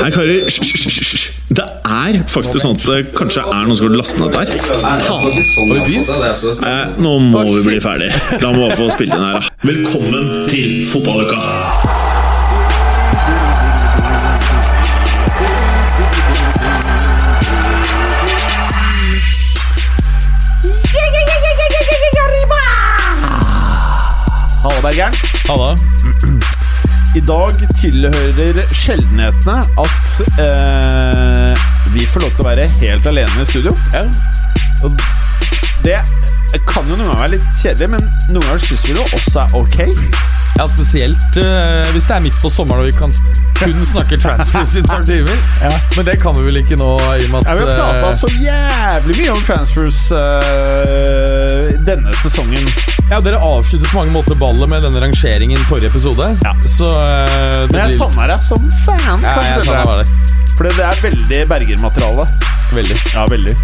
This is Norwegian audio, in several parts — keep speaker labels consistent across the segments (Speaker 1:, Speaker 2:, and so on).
Speaker 1: Nei, karer, hysj, hysj, hysj, hysj. Det er faktisk sånn at det kanskje er noen som har lastet ned dette her.
Speaker 2: Har vi begynt?
Speaker 1: Nei, nå må vi bli ferdig. La meg bare få spilt inn her, da. Velkommen til fotballuka!
Speaker 3: Halla, Bergeren.
Speaker 2: Halla.
Speaker 3: I dag tilhører sjeldenhetene at eh, vi får lov til å være helt alene i studio.
Speaker 2: Ja.
Speaker 3: Det kan jo noen ganger være litt kjedelig, men noen ganger syns vi det også er ok.
Speaker 2: ja, spesielt eh, hvis det er midt på sommeren og vi kan s- kun snakke transfers i tolv timer.
Speaker 3: Ja.
Speaker 2: Men det kan vi vel ikke nå, i og med
Speaker 3: Ja,
Speaker 2: at
Speaker 3: vi har prata
Speaker 2: eh,
Speaker 3: så jævlig mye om transfers eh, denne sesongen.
Speaker 2: ja, Dere avsluttet på mange måter ballet med denne rangeringen i forrige episode.
Speaker 3: Ja.
Speaker 2: Så eh, det
Speaker 3: Men jeg
Speaker 2: blir-
Speaker 3: savner deg som fan.
Speaker 2: ja,
Speaker 3: kan
Speaker 2: jeg
Speaker 3: jeg
Speaker 2: savner
Speaker 3: føle.
Speaker 2: deg.
Speaker 3: Fordi det er veldig Berger-materiale.
Speaker 2: Veldig.
Speaker 3: Ja, veldig.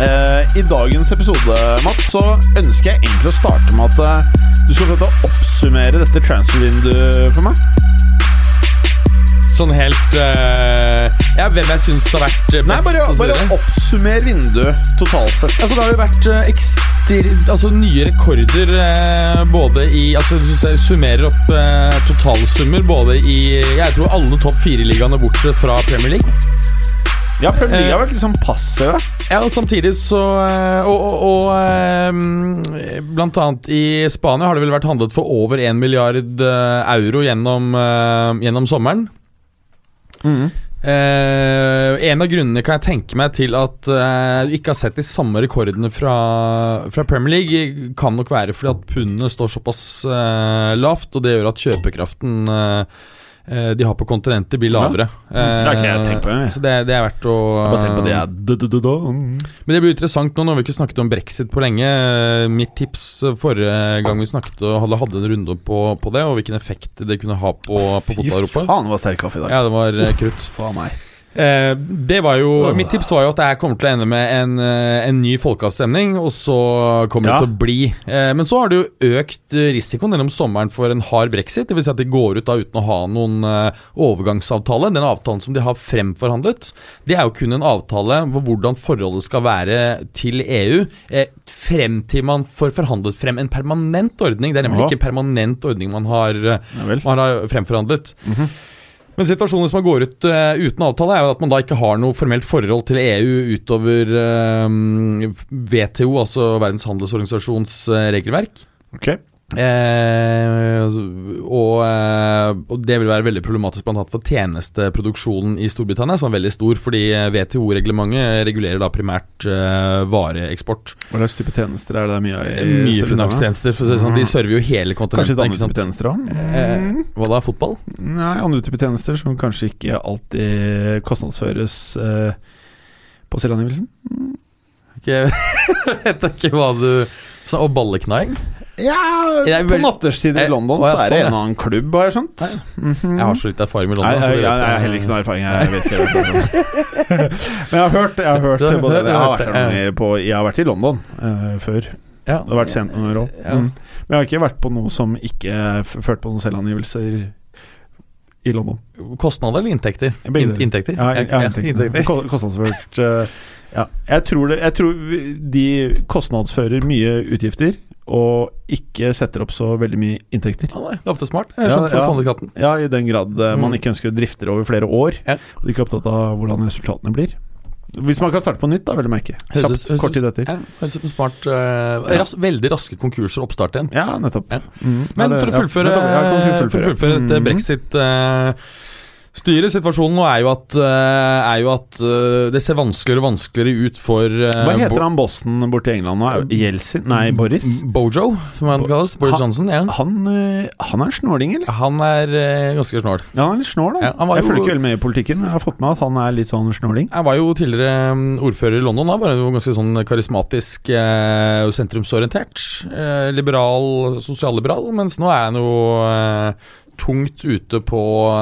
Speaker 3: Eh, I dagens episode, Mats, så ønsker jeg egentlig å starte med at eh, du skal få lov til å oppsummere dette transfer-vinduet for meg.
Speaker 2: Sånn helt eh, Ja, hvem jeg syns har vært eh, best.
Speaker 3: Nei, bare,
Speaker 2: og så
Speaker 3: bare
Speaker 2: videre.
Speaker 3: oppsummer vinduet totalt sett.
Speaker 2: Altså, det har jo vært eh, ekster, altså, nye rekorder eh, både i Altså, hvis jeg summerer opp eh, totalsummer både i Jeg tror alle topp fire-ligaene bortsett fra Premier League.
Speaker 3: Ja, Premier League
Speaker 2: Eh,
Speaker 3: har vært liksom passive.
Speaker 2: Ja, og samtidig så eh, Og, og, og eh, mm, blant annet i Spania har det vel vært handlet for over 1 milliard eh, euro gjennom, eh, gjennom sommeren. Mm. Eh, en av grunnene kan jeg tenke meg til at eh, du ikke har sett de samme rekordene fra, fra Premier League, kan nok være fordi at pundet står såpass eh, lavt, og det gjør at kjøpekraften eh, eh, de har på kontinentet, blir lavere.
Speaker 3: Det har ikke jeg tenkt på engang,
Speaker 2: Eh,
Speaker 3: jeg.
Speaker 2: Så det, det er verdt å Ah. men det blir interessant nå, nå har vi ikke snakket om brexit på lenge. Eh, Mitt tips eh, forrige gang vi snakket og hadde, hadde en runde på, på det, og hvilken effekt det kunne ha på, på fotball-Europa.
Speaker 3: faen, det var sterk kaffe i dag.
Speaker 2: Ja, det var eh, krutt.
Speaker 3: Faen meg.
Speaker 2: Eh, det var jo Mitt tips var jo at det her kommer til å ende med en, eh, en ny folkeavstemning, og så kommer
Speaker 3: Ja.
Speaker 2: det til å bli. Eh, men så har det jo økt eh, risikoen gjennom sommeren for en hard brexit. Dvs. Si at de går ut da uten å ha noen eh, overgangsavtale. Den avtalen som de har fremforhandlet, det er jo kun en avtale hvor hvordan forholdet skal være til EU eh, frem til man får forhandlet frem en permanent ordning. Det er nemlig
Speaker 3: Ja.
Speaker 2: ikke en permanent ordning man har eh,
Speaker 3: Ja vel.
Speaker 2: man har fremforhandlet. Men situasjonen hvis man går ut eh, uten avtale, er jo at man da ikke har noe formelt forhold til EU utover eh, WTO, altså Verdens handelsorganisasjons eh, regelverk.
Speaker 3: Ok.
Speaker 2: Eh, og, eh, og det vil være veldig problematisk bl.a. for tjenesteproduksjonen i Storbritannia, som er veldig stor, fordi eh, WTO-reglementet regulerer da primært eh, vareeksport.
Speaker 3: Hva slags type tjenester er Eh, det mye av?
Speaker 2: Eh, Mye finanstjenester, for å si det sånn. De server jo hele
Speaker 3: Kanskje litt
Speaker 2: kontinentet. ikke
Speaker 3: andre
Speaker 2: sant?
Speaker 3: type tjenester òg?
Speaker 2: Eh, hva da? Fotball?
Speaker 3: Nei, andre type tjenester som kanskje ikke alltid kostnadsføres eh, på selvangivelsen.
Speaker 2: Ikke, vet ikke hva du sa, Og balleknaing?
Speaker 3: Mhm. Ja,
Speaker 2: Jeg er
Speaker 3: på
Speaker 2: vel-
Speaker 3: natterstid i
Speaker 2: Jeg-
Speaker 3: London
Speaker 2: Å, ja,
Speaker 3: så er det
Speaker 2: sånn,
Speaker 3: en
Speaker 2: ja.
Speaker 3: annen klubb, har jeg skjønt. Mhm.
Speaker 2: Nei. Jeg har så litt erfaring med
Speaker 3: Nei,
Speaker 2: London.
Speaker 3: jeg, jeg, jeg har heller ikke noe erfaring. Jeg vet ikke hva det er. Men jeg har hørt, jeg har hørt
Speaker 2: Du har-
Speaker 3: både
Speaker 2: du
Speaker 3: Jeg
Speaker 2: har
Speaker 3: har
Speaker 2: hørt
Speaker 3: vært, her
Speaker 2: det,
Speaker 3: noen ganger på, jeg har vært i London eh, før. Det
Speaker 2: Ja.
Speaker 3: har vært sent noen år òg.
Speaker 2: Ja.
Speaker 3: Mm. Men jeg har ikke vært på noe som ikke f- førte på noen selvangivelser i London.
Speaker 2: Kostnader eller inntekter?
Speaker 3: Begge
Speaker 2: In
Speaker 3: deler.
Speaker 2: inntekter?
Speaker 3: Ja, ja,
Speaker 2: Ja,
Speaker 3: inntekter. Ko- Kostnadsført eh, Ja. Jeg tror, det, jeg tror vi- de kostnadsfører mye utgifter, og ikke setter opp så veldig mye inntekter.
Speaker 2: Ja, nei, det er ofte smart.
Speaker 3: Ja,
Speaker 2: Jeg skjønte
Speaker 3: ja.
Speaker 2: forfallet
Speaker 3: Ja, i den grad eh, man
Speaker 2: Mm.
Speaker 3: ikke ønsker å drifte det over flere år.
Speaker 2: Ja.
Speaker 3: Og de er ikke opptatt av hvordan resultatene blir. Hvis man kan starte på nytt, da, vel å merke. Kjapt, kort tid etter.
Speaker 2: Ja, høres ut som smart eh, ras, Veldig raske konkurser og oppstart igjen.
Speaker 3: Ja, nettopp.
Speaker 2: Ja.
Speaker 3: Mm. Ja,
Speaker 2: Men
Speaker 3: det-
Speaker 2: for å
Speaker 3: ja,
Speaker 2: fullføre,
Speaker 3: nettopp, ja, kan du
Speaker 2: for å fullføre dette
Speaker 3: Mm.
Speaker 2: brexit eh, Styret, situasjonen nå er jo at, eh, er jo at eh, det ser vanskeligere og vanskeligere ut for eh,
Speaker 3: Hva
Speaker 2: Bo- Mm.
Speaker 3: heter han bossen borte i England nå? Er det Jeltsin? Nei, Boris?
Speaker 2: Bojo, som han kalles. Boris
Speaker 3: Ha-
Speaker 2: Johnson. Ja.
Speaker 3: Han, eh, han er en snåling, eller?
Speaker 2: Han er eh, ganske snål.
Speaker 3: Ja, han er litt snål, da.
Speaker 2: Ja, han var
Speaker 3: jeg
Speaker 2: jo-
Speaker 3: følger ikke veldig med i politikken. men Jeg har fått med meg at han er litt sånn snåling.
Speaker 2: Jeg var jo tidligere mm, ordfører i London. Da var jeg jo ganske sånn karismatisk, eh, sentrumsorientert. Eh, liberal, sosialliberal. Mens nå er han jo eh, tungt ute på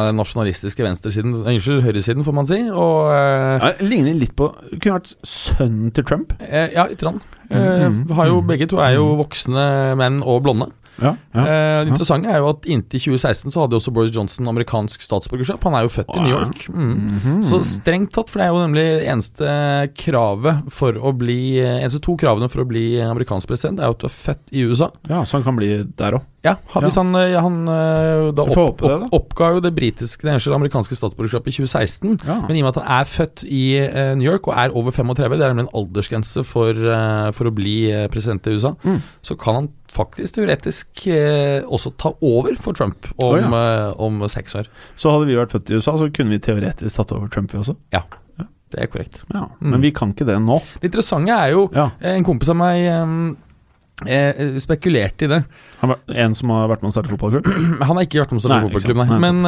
Speaker 2: den nasjonalistiske venstresiden eh, Unnskyld, høyresiden, får man si. Og eh,
Speaker 3: Ja, ligner litt på Kunne vært sønnen til Trump. Mm,
Speaker 2: eh, ja, lite grann. Eh, har jo, begge to er jo voksne menn og blonde.
Speaker 3: Ja, Mm. ja.
Speaker 2: Eh, det interessante er jo at Inntil 2016 så hadde jo også Boris Johnson amerikansk statsborgerskap. Han er jo født i New York. Mm.
Speaker 3: Mhm.
Speaker 2: Så strengt tatt, for det er jo nemlig eneste kravet for å bli Eneste to kravene for å bli amerikansk president, er jo at du er født i USA.
Speaker 3: ja, så han kan bli der òg.
Speaker 2: Ja, ha- hvis han, eh, han eh, da
Speaker 3: Vi får
Speaker 2: opp,
Speaker 3: håpe det,
Speaker 2: opp, oppga jo det britiske, det eneste amerikanske statsborgerskapet i 2016.
Speaker 3: Ja.
Speaker 2: Men i og med at han er født i eh, New York og er over 35, det er nemlig en aldersgrense for, eh, for å bli eh, president i USA,
Speaker 3: Mm.
Speaker 2: så kan han faktisk teoretisk eh, også ta over for Trump om,
Speaker 3: Å,
Speaker 2: eh, om seks år.
Speaker 3: Så hadde vi vært født i USA, så kunne vi teoretisk tatt over Trump, vi også.
Speaker 2: Det er korrekt.
Speaker 3: Ja,
Speaker 2: Mm.
Speaker 3: Men vi kan ikke det nå.
Speaker 2: Det interessante er jo
Speaker 3: Ja,
Speaker 2: eh, En kompis av meg eh, eh, spekulerte i det.
Speaker 3: han var En som har vært med å starte fotballklubb?
Speaker 2: Han har ikke vært med som
Speaker 3: Nei,
Speaker 2: fotballklubb,
Speaker 3: ikke sant.
Speaker 2: nei. Men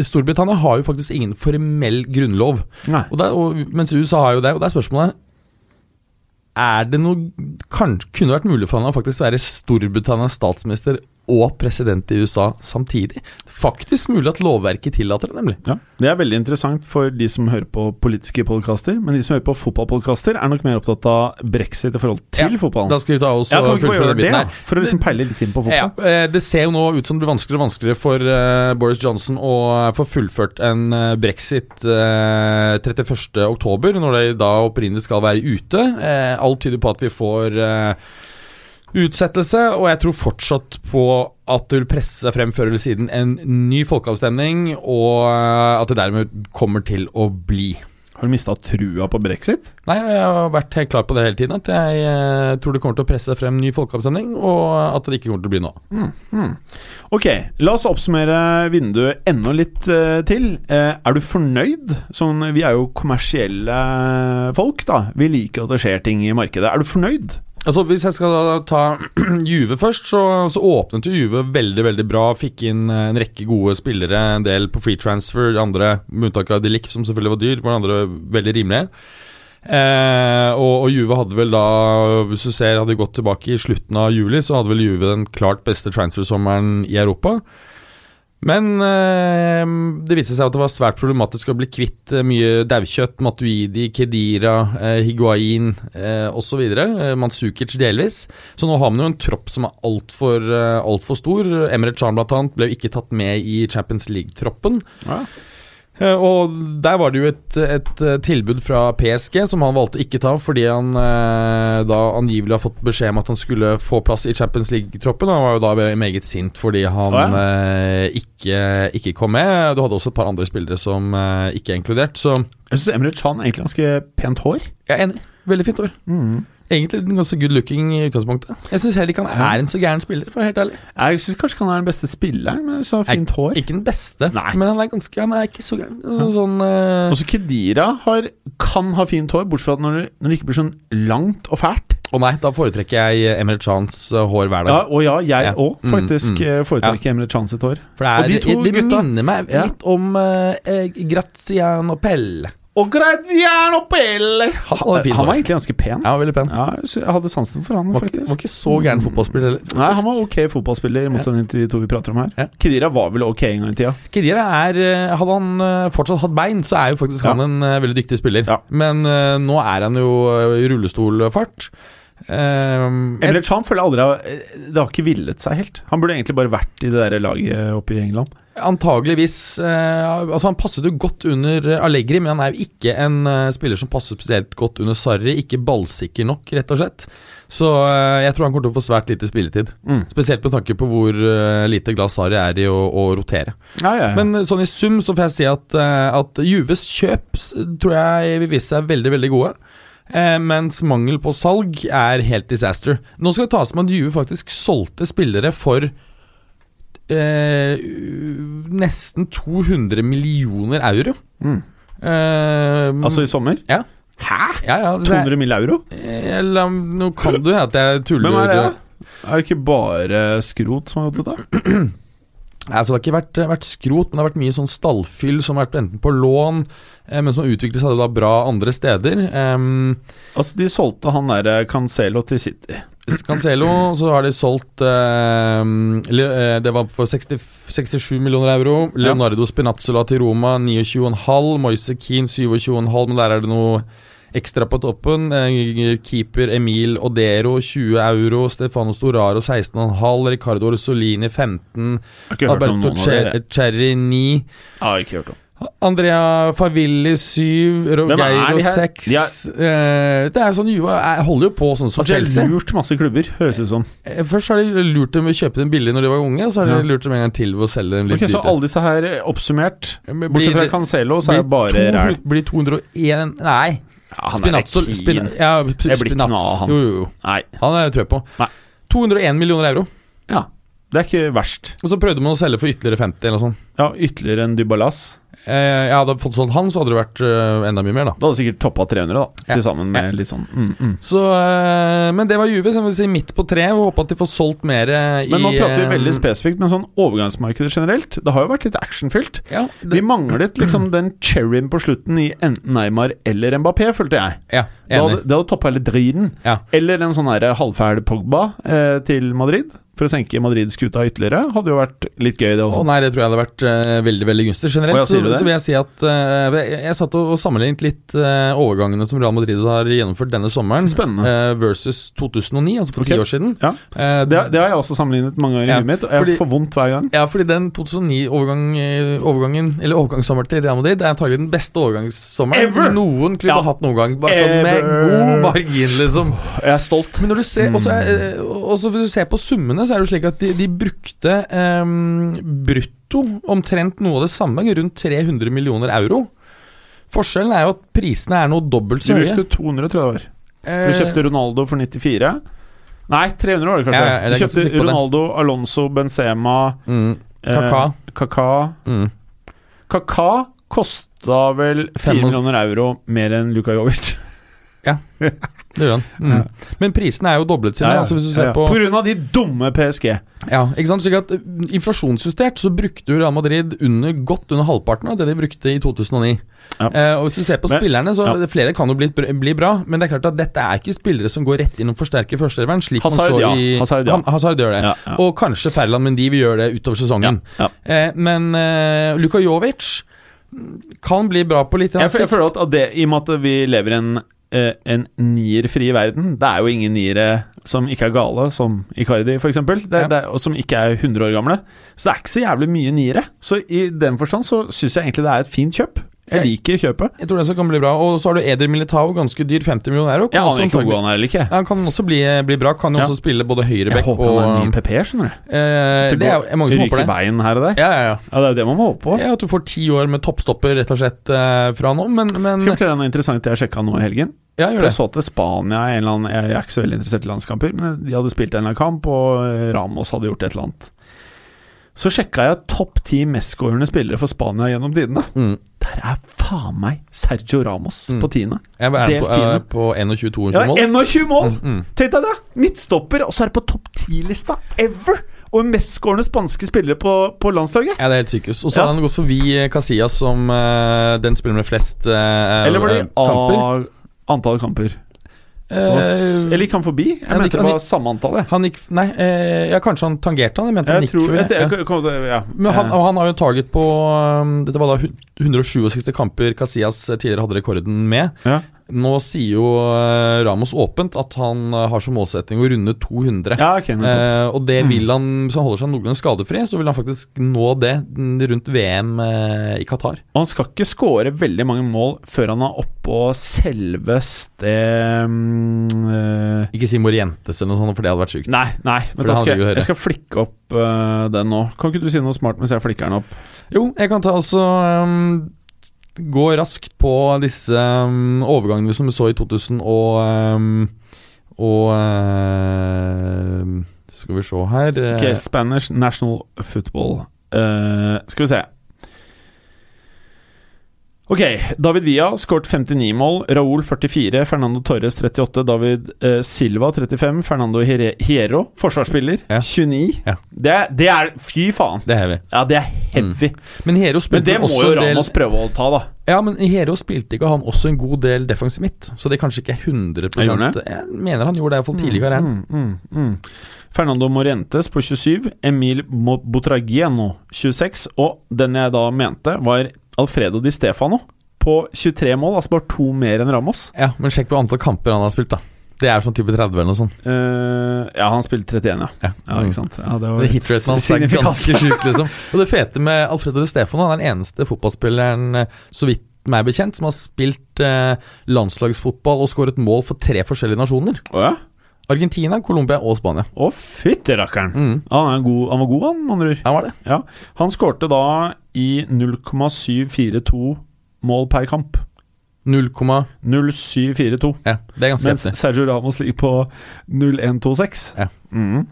Speaker 2: eh, Storbritannia har jo faktisk ingen formell grunnlov.
Speaker 3: Nei.
Speaker 2: Og der, og, mens USA har jo det, og det er spørsmålet Er det noe kan, Kunne det vært mulig for han å faktisk være Storbritannias statsminister og president i USA samtidig? Faktisk mulig at lovverket tillater det, nemlig.
Speaker 3: Ja. Det er veldig interessant for de som hører på politiske podkaster, men de som hører på fotballpodkaster, er nok mer opptatt av brexit i forhold til fotballen.
Speaker 2: Da skal vi ta oss
Speaker 3: Ja, kan
Speaker 2: og
Speaker 3: vi ikke bare
Speaker 2: fullføre
Speaker 3: gjøre
Speaker 2: den
Speaker 3: det,
Speaker 2: biten
Speaker 3: da?
Speaker 2: her.
Speaker 3: For å liksom peile litt inn på
Speaker 2: Ja,
Speaker 3: fotball.
Speaker 2: eh, det ser jo nå ut som det blir vanskeligere og vanskeligere for eh, Boris Johnson å eh, få fullført en eh, brexit eh, 31. oktober, når de da opprinnelig skal være ute. Eh, alt tyder på at vi får eh, utsettelse, og jeg tror fortsatt på at det vil presse seg frem før eller siden en ny folkeavstemning, og eh, at det dermed kommer til å bli.
Speaker 3: Har du mista trua på brexit?
Speaker 2: Nei, jeg har vært helt klar på det hele tiden, at jeg eh, tror det kommer til å presse seg frem ny folkeavstemning, og at det ikke kommer til å bli nå.
Speaker 3: Ok, la oss oppsummere vinduet enda litt eh, til. Eh, er du fornøyd? Sånn, vi er jo kommersielle folk, da. Vi liker at det skjer ting i markedet. Er du fornøyd?
Speaker 2: Altså Hvis jeg skal da ta Juve først, så, så åpnet jo Juve veldig veldig bra. Fikk inn eh, en rekke gode spillere, en del på free transfer, de andre med unntak av Delic, som selvfølgelig var dyr, var de andre veldig rimelige. Eh, og, og Juve hadde vel da, hvis du ser hadde gått tilbake i slutten av juli, så hadde vel Juve den klart beste transfersommeren i Europa. Men eh, det viste seg at det var svært problematisk å bli kvitt eh, mye daukjøtt. Matuidi, Kedira, eh, Higuain eh, osv. Eh, Mansukic delvis. Så nå har man jo en tropp som er altfor eh, alt for stor. Emre Can blant annet ble jo ikke tatt med i Champions League-troppen.
Speaker 3: Ja.
Speaker 2: Eh, Og der var det jo et, et eh, tilbud fra PSG som han valgte å ikke ta, fordi han eh, da angivelig har fått beskjed om at han skulle få plass i Champions League-troppen. og Han var jo da ve- meget sint fordi han
Speaker 3: Å, ja.
Speaker 2: eh, ikke, ikke kom med. Du hadde også et par andre spillere som eh, ikke er inkludert, så
Speaker 3: Jeg syns Emre Chan egentlig har ganske pent hår.
Speaker 2: jeg er enig. Veldig fint år. Mm. Egentlig en ganske good looking i utgangspunktet. Jeg syns heller ikke han er en så gæren spiller, for å være helt ærlig.
Speaker 3: Jeg syns kanskje ikke han er den beste spilleren, men så har fint hår.
Speaker 2: Ikke den beste,
Speaker 3: Nei.
Speaker 2: men han er ganske Han er ikke så gæren. Så, sånn eh,
Speaker 3: Også Kedira har, kan ha fint hår, bortsett fra at når det, når det ikke blir sånn langt og fælt.
Speaker 2: Å nei, da foretrekker jeg Emre Chans eh, hår hver dag.
Speaker 3: Ja, og ja, jeg
Speaker 2: Ja.
Speaker 3: òg
Speaker 2: Mm,
Speaker 3: faktisk
Speaker 2: mm.
Speaker 3: eh, foretrekker Emre Chan sitt hår.
Speaker 2: For det, er,
Speaker 3: Og de to
Speaker 2: det, det
Speaker 3: gutta-
Speaker 2: minner meg
Speaker 3: Ja.
Speaker 2: litt om eh, eh, Graziano Pelle.
Speaker 3: Og Graziano Pelle!
Speaker 2: Han hadde fint
Speaker 3: Han var
Speaker 2: hår.
Speaker 3: egentlig ganske pen.
Speaker 2: Ja, veldig pen.
Speaker 3: Ja, så jeg hadde sansen for han,
Speaker 2: var,
Speaker 3: faktisk.
Speaker 2: ikke,
Speaker 3: Mm.
Speaker 2: var ikke så gæren fotballspiller heller.
Speaker 3: Nei, han var ok fotballspiller, i motsetning til de to vi prater om her.
Speaker 2: Ja.
Speaker 3: Kedira var vel ok en gang i tida.
Speaker 2: Kedira er eh, Hadde han eh, fortsatt hatt bein, så er jo faktisk
Speaker 3: Ja.
Speaker 2: han en eh, veldig dyktig spiller.
Speaker 3: Ja.
Speaker 2: Men eh, nå er han jo eh, i rullestolfart. Ehm,
Speaker 3: Emre Can føler jeg aldri har eh, Det har ikke villet seg helt. Han burde egentlig bare vært i det der laget oppe i England.
Speaker 2: Antageligvis eh, Altså Han passet jo godt under eh, Allegri, men han er jo ikke en eh, spiller som passer spesielt godt under Sarri. Ikke ballsikker nok, rett og slett. Så eh, jeg tror han kommer til å få svært lite spilletid.
Speaker 3: Mm.
Speaker 2: Spesielt med tanke på hvor eh, lite glad Sarri er i å, å rotere.
Speaker 3: Ja, ja, ja.
Speaker 2: Men eh, sånn i sum så får jeg si at, eh, at Juves kjøp s- tror jeg vil vise seg veldig, veldig gode. Eh, mens mangel på salg er helt disaster. Nå skal det tas med at Juve faktisk solgte spillere for eh, u- nesten 200 millioner euro.
Speaker 3: Mm.
Speaker 2: Eh,
Speaker 3: altså i sommer?
Speaker 2: Ja.
Speaker 3: Hæ?
Speaker 2: ja, ja, det er-
Speaker 3: 200 mill. euro?
Speaker 2: Eh, la- Nå kan du at jeg tuller.
Speaker 3: Hvem er det? da? Er det ikke bare skrot som har gjort dette?
Speaker 2: Nei, altså Det har ikke vært, vært skrot, men det har vært mye sånn stallfyll som har vært enten på lån, eh, men som har utviklet seg da bra andre steder. Ehm,
Speaker 3: Altså, de solgte han derre Cancelo til City.
Speaker 2: Cancelo, så har de solgt ehm, Le- eh, Det var for 60, 67 millioner euro. Leonardo Spinazzola til Roma 29,5. Moise Keane 27,5, men der er det noe Ekstra på toppen. eh, Keeper Emil Odero 20 euro. Stefano Storaro 16,5. Ricardo Orsolini 15.
Speaker 3: har ikke hørt om
Speaker 2: Alberto
Speaker 3: noen av dere.
Speaker 2: Cher- Cherry 9.
Speaker 3: Jeg har ikke hørt om.
Speaker 2: Andrea Favilli 7.
Speaker 3: Hvem er
Speaker 2: Rogeiro
Speaker 3: de her?
Speaker 2: 6.
Speaker 3: De
Speaker 2: Eh, Det er jo sånn Juve jeg holder jo på sånn som
Speaker 3: Altså, jeg
Speaker 2: Chelsea.
Speaker 3: har lurt masse klubber, høres ut som.
Speaker 2: Eh, Først har de lurt dem ved å kjøpe dem billig når de var unge, og så har de lurt dem en gang til ved å selge dem litt
Speaker 3: Ok, Så
Speaker 2: dyrere.
Speaker 3: alle disse her eh, oppsummert
Speaker 2: Men blir
Speaker 3: Bortsett fra
Speaker 2: det-
Speaker 3: Cancelo, så er det
Speaker 2: blir
Speaker 3: bare
Speaker 2: 200
Speaker 3: ræl.
Speaker 2: Blir 201 Nei.
Speaker 3: Ja, han er
Speaker 2: Spinazzo
Speaker 3: keen.
Speaker 2: spin, ja, sp-
Speaker 3: Jeg blir ikke
Speaker 2: Spinazzo.
Speaker 3: noe av han.
Speaker 2: Jo, jo, jo.
Speaker 3: Nei.
Speaker 2: Han er jeg trø på.
Speaker 3: Nei.
Speaker 2: 201 millioner euro.
Speaker 3: Ja, det er ikke verst.
Speaker 2: Og så prøvde man å selge for ytterligere 50 eller noe sånt.
Speaker 3: Ja, Ytterligere enn Dybalas.
Speaker 2: Eh, jeg hadde fått solgt han, så hadde det vært eh, enda mye mer, da.
Speaker 3: Det hadde sikkert toppa 300, da.
Speaker 2: Ja.
Speaker 3: Til sammen med litt sånn mm, mm.
Speaker 2: Så, eh, men det var Juve, så jeg vil si midt på tre. og Håper at de får solgt mer eh, i
Speaker 3: Men nå prater vi
Speaker 2: eh,
Speaker 3: veldig spesifikt, men sånn overgangsmarkedet generelt Det har jo vært litt actionfylt.
Speaker 2: eh, Ja,
Speaker 3: Vi
Speaker 2: det,
Speaker 3: manglet liksom den cherryen på slutten i enten Neymar eller Mbappé, følte jeg.
Speaker 2: ja
Speaker 3: Det
Speaker 2: enig.
Speaker 3: hadde, det hadde toppa hele driten.
Speaker 2: Ja.
Speaker 3: Eller en sånn her halvfæl Pogba eh, til Madrid, for å senke Madrid-skuta ytterligere. Hadde jo vært litt gøy, det
Speaker 2: Å
Speaker 3: også.
Speaker 2: nei, det tror jeg hadde vært eh, veldig veldig gunstig. Generelt
Speaker 3: Å, ja,
Speaker 2: så,
Speaker 3: sier du det?
Speaker 2: så vil jeg si at eh, jeg, jeg satt og, og sammenlignet litt eh, overgangene som Real Madrid har gjennomført denne sommeren,
Speaker 3: Spennende.
Speaker 2: eh, versus 2009, altså for
Speaker 3: Ok.
Speaker 2: ti år siden.
Speaker 3: Ja.
Speaker 2: Eh,
Speaker 3: Det, det har jeg også sammenlignet mange ganger i
Speaker 2: Ja,
Speaker 3: huet mitt, og jeg
Speaker 2: fordi-
Speaker 3: får vondt hver gang.
Speaker 2: Ja, fordi den 2009-overgangen eh, overgangen, Eller overgangssommeren til Real Madrid Det er antagelig den beste overgangssommeren
Speaker 3: Ever!
Speaker 2: noen
Speaker 3: Ja.
Speaker 2: klubb har hatt noen gang. Bare sånn med
Speaker 3: Ever!
Speaker 2: god margin, liksom.
Speaker 3: Jeg er stolt.
Speaker 2: Men når du ser også,
Speaker 3: Mm.
Speaker 2: er- eh, også hvis du ser på summene, så er det jo slik at de, de brukte ehm, brutto omtrent noe av det samme, rundt 300 millioner euro. Forskjellen er jo at prisene er noe dobbelt
Speaker 3: Du
Speaker 2: så høye.
Speaker 3: brukte 200, tror jeg det var. For
Speaker 2: Eh,
Speaker 3: du kjøpte Ronaldo for 94. Nei, 300 var det kanskje.
Speaker 2: Ja, ja, jeg
Speaker 3: du
Speaker 2: er ganske sikker
Speaker 3: kjøpte
Speaker 2: på det.
Speaker 3: Ronaldo, Alonso, Benzema
Speaker 2: mm,
Speaker 3: eh,
Speaker 2: Kaká.
Speaker 3: Kaká.
Speaker 2: mm.
Speaker 3: Kaká kosta vel 4
Speaker 2: Fem og-
Speaker 3: millioner euro mer enn Luka Jovic.
Speaker 2: Det gjør han. Mm. Men prisene er jo doblet sine. Altså hvis du ser
Speaker 3: ja, ja.
Speaker 2: på
Speaker 3: på grunn av de dumme PSG.
Speaker 2: Ja, ikke sant? Slik at uh, Inflasjonsjustert så brukte jo Real Madrid under, godt under halvparten av det de brukte i 2009.
Speaker 3: Ja.
Speaker 2: Eh, og Hvis du ser på
Speaker 3: Men-
Speaker 2: spillerne, så
Speaker 3: ja.
Speaker 2: flere kan jo bli, bli bra. Men det er klart at dette er ikke spillere som går rett inn og forsterker førsteelveren. slik
Speaker 3: Hazard,
Speaker 2: man så
Speaker 3: ja.
Speaker 2: i
Speaker 3: Hazard, ja.
Speaker 2: Han, Hazard gjør det.
Speaker 3: Ja, ja.
Speaker 2: Og kanskje Ferland Mendy vil gjøre det utover sesongen.
Speaker 3: Ja,
Speaker 2: Eh, men eh, Luka Jovic mm, kan bli bra på litt
Speaker 3: Jeg, føl- jeg
Speaker 2: sikt.
Speaker 3: føler at at det, I og med at vi lever i en, eh, en nierfri verden Det er jo ingen niere som ikke er gale, som Icardi f.eks.,
Speaker 2: Ja.
Speaker 3: og som ikke er 100 år gamle. Så det er ikke så jævlig mye niere. Så i den forstand så syns jeg egentlig det er et fint kjøp. Jeg liker kjøpet.
Speaker 2: Jeg tror det også kan bli bra. Og så har du Eder Militao, ganske dyr, 50 millioner euro. Kan
Speaker 3: Jeg
Speaker 2: også
Speaker 3: aner ikke hvor
Speaker 2: antagelig-
Speaker 3: god han er eller ikke.
Speaker 2: Ja, Han kan også bli, eh, bli bra. Kan jo
Speaker 3: Ja.
Speaker 2: også spille både
Speaker 3: Jeg
Speaker 2: høyreback og
Speaker 3: håper han er en ny PP, skjønner du.
Speaker 2: Eh, det er jo mange som håper
Speaker 3: ryker
Speaker 2: det.
Speaker 3: veien her og der.
Speaker 2: Ja, ja, ja.
Speaker 3: Ja, Det er jo det man må håpe på.
Speaker 2: ja, At du får ti år med toppstopper rett og slett eh, fra nå, men, men
Speaker 3: Skal jeg fortelle deg noe interessant jeg sjekka nå i helgen?
Speaker 2: Ja,
Speaker 3: For
Speaker 2: gjør det.
Speaker 3: jeg så til Spania en eller annen, Jeg er ikke så veldig interessert i landskamper, men de hadde spilt en eller annen kamp, og eh, Ramos hadde gjort et eller annet. Så sjekka jeg topp ti mestskårende spillere for Spania gjennom tidene.
Speaker 2: Mm.
Speaker 3: Der er faen meg Sergio Ramos
Speaker 2: Mm.
Speaker 3: på tiende.
Speaker 2: Jeg er
Speaker 3: Delt
Speaker 2: på, eh,
Speaker 3: tiende.
Speaker 2: på 21-22
Speaker 3: Ja,
Speaker 2: mål.
Speaker 3: 21 mål!
Speaker 2: Mm.
Speaker 3: Tenk deg det! Midtstopper, og så er det på topp ti-lista ever! Og mestskårende spanske spillere på, på landslaget.
Speaker 2: Ja, det er helt sykehus. Og så
Speaker 3: Ja.
Speaker 2: har han gått forbi eh, Casillas som eh, den spiller med flest eh,
Speaker 3: Eller var
Speaker 2: eh,
Speaker 3: det
Speaker 2: kamper.
Speaker 3: av antall kamper? Det var s-
Speaker 2: Eh,
Speaker 3: Eller gikk han forbi? Jeg
Speaker 2: han gikk-
Speaker 3: mente det
Speaker 2: han
Speaker 3: var samme antall, jeg.
Speaker 2: han gikk Nei, eh, ja, kanskje han tangerte han? Jeg mente han
Speaker 3: Jeg
Speaker 2: gikk
Speaker 3: tror
Speaker 2: forbi,
Speaker 3: jeg,
Speaker 2: ja.
Speaker 3: jeg, kom- ja.
Speaker 2: Men han,
Speaker 3: Eh.
Speaker 2: og han har jo en target på um, Dette var da hun- 167 kamper Casillas eh, tidligere hadde rekorden med.
Speaker 3: Ja.
Speaker 2: Nå sier jo eh, Ramos åpent at han eh, har som målsetting å runde 200.
Speaker 3: Ja, ok, nettopp.
Speaker 2: Eh, og
Speaker 3: Mm.
Speaker 2: det vil han, Hvis han holder seg noenlunde skadefri, så vil han faktisk nå det mm, rundt VM eh, i Qatar.
Speaker 3: Og han skal ikke skåre veldig mange mål før han er oppå selveste mm, eh,
Speaker 2: Ikke si Morientes eller noe sånt, for det hadde vært sykt.
Speaker 3: Nei, nei, men
Speaker 2: det
Speaker 3: da
Speaker 2: hadde
Speaker 3: skal
Speaker 2: vi jo
Speaker 3: jeg,
Speaker 2: hørt.
Speaker 3: jeg skal flikke opp eh, den nå. Kan ikke du si noe smart mens jeg flikker den opp?
Speaker 2: Jo, jeg kan ta altså ehm, Gå raskt på disse ehm, overgangene som vi så i 2000 og ehm, Og ehm, Skal vi se her eh,
Speaker 3: Ok, Spanish National Football. Eh, skal vi se. Ok, David Villa skåret 59 mål. Raúl 44. Fernando Torres 38. David eh, Silva 35. Fernando Hier- Hierro, forsvarsspiller,
Speaker 2: Ja.
Speaker 3: 29.
Speaker 2: Ja.
Speaker 3: Det, er- det er Fy faen!
Speaker 2: Det er heavy.
Speaker 3: Ja, det er heavy.
Speaker 2: Mm. Men Hero
Speaker 3: Men
Speaker 2: spilte
Speaker 3: det må
Speaker 2: også
Speaker 3: jo
Speaker 2: en del
Speaker 3: Ramos prøve å ta, da.
Speaker 2: Ja, men Hero spilte ikke han også en god del defensiv midt, så det er kanskje ikke 100
Speaker 3: Jeg gjorde det.
Speaker 2: Jeg mener han gjorde det iallfall tidlig i karrieren.
Speaker 3: Mm, mm, mm. Fernando Morientes på 27, Emil Mo- Botragieno 26, og den jeg da mente, var Alfredo Di Stefano på 23 mål, altså bare to mer enn Ramos.
Speaker 2: Ja, Men sjekk på antall kamper han har spilt, da. Det er sånn type 30 eller noe sånt.
Speaker 3: Eh, ja, han spilte 31, ja.
Speaker 2: Ja,
Speaker 3: ja ikke sant? Ja, det
Speaker 2: Mm. Det Hitraten hans er
Speaker 3: signifikant.
Speaker 2: ganske sjuk, liksom. Og det fete med Alfredo de Stefano, han er den eneste fotballspilleren, eh, så vidt meg bekjent, som har spilt eh, landslagsfotball og skåret mål for tre forskjellige nasjoner.
Speaker 3: Å ja?
Speaker 2: Argentina, Colombia og Spania.
Speaker 3: Å, fytti rakkeren!
Speaker 2: Mm.
Speaker 3: Han, er god- han var god, han, med andre ord.
Speaker 2: Ja, var det.
Speaker 3: Ja. Han skårte da i 0,742 mål per kamp.
Speaker 2: 0,
Speaker 3: 0,742.
Speaker 2: ja, det er ganske
Speaker 3: Mens
Speaker 2: heftig.
Speaker 3: Sergio Ramos ligger på 0,126.
Speaker 2: Ja.
Speaker 3: Mhm.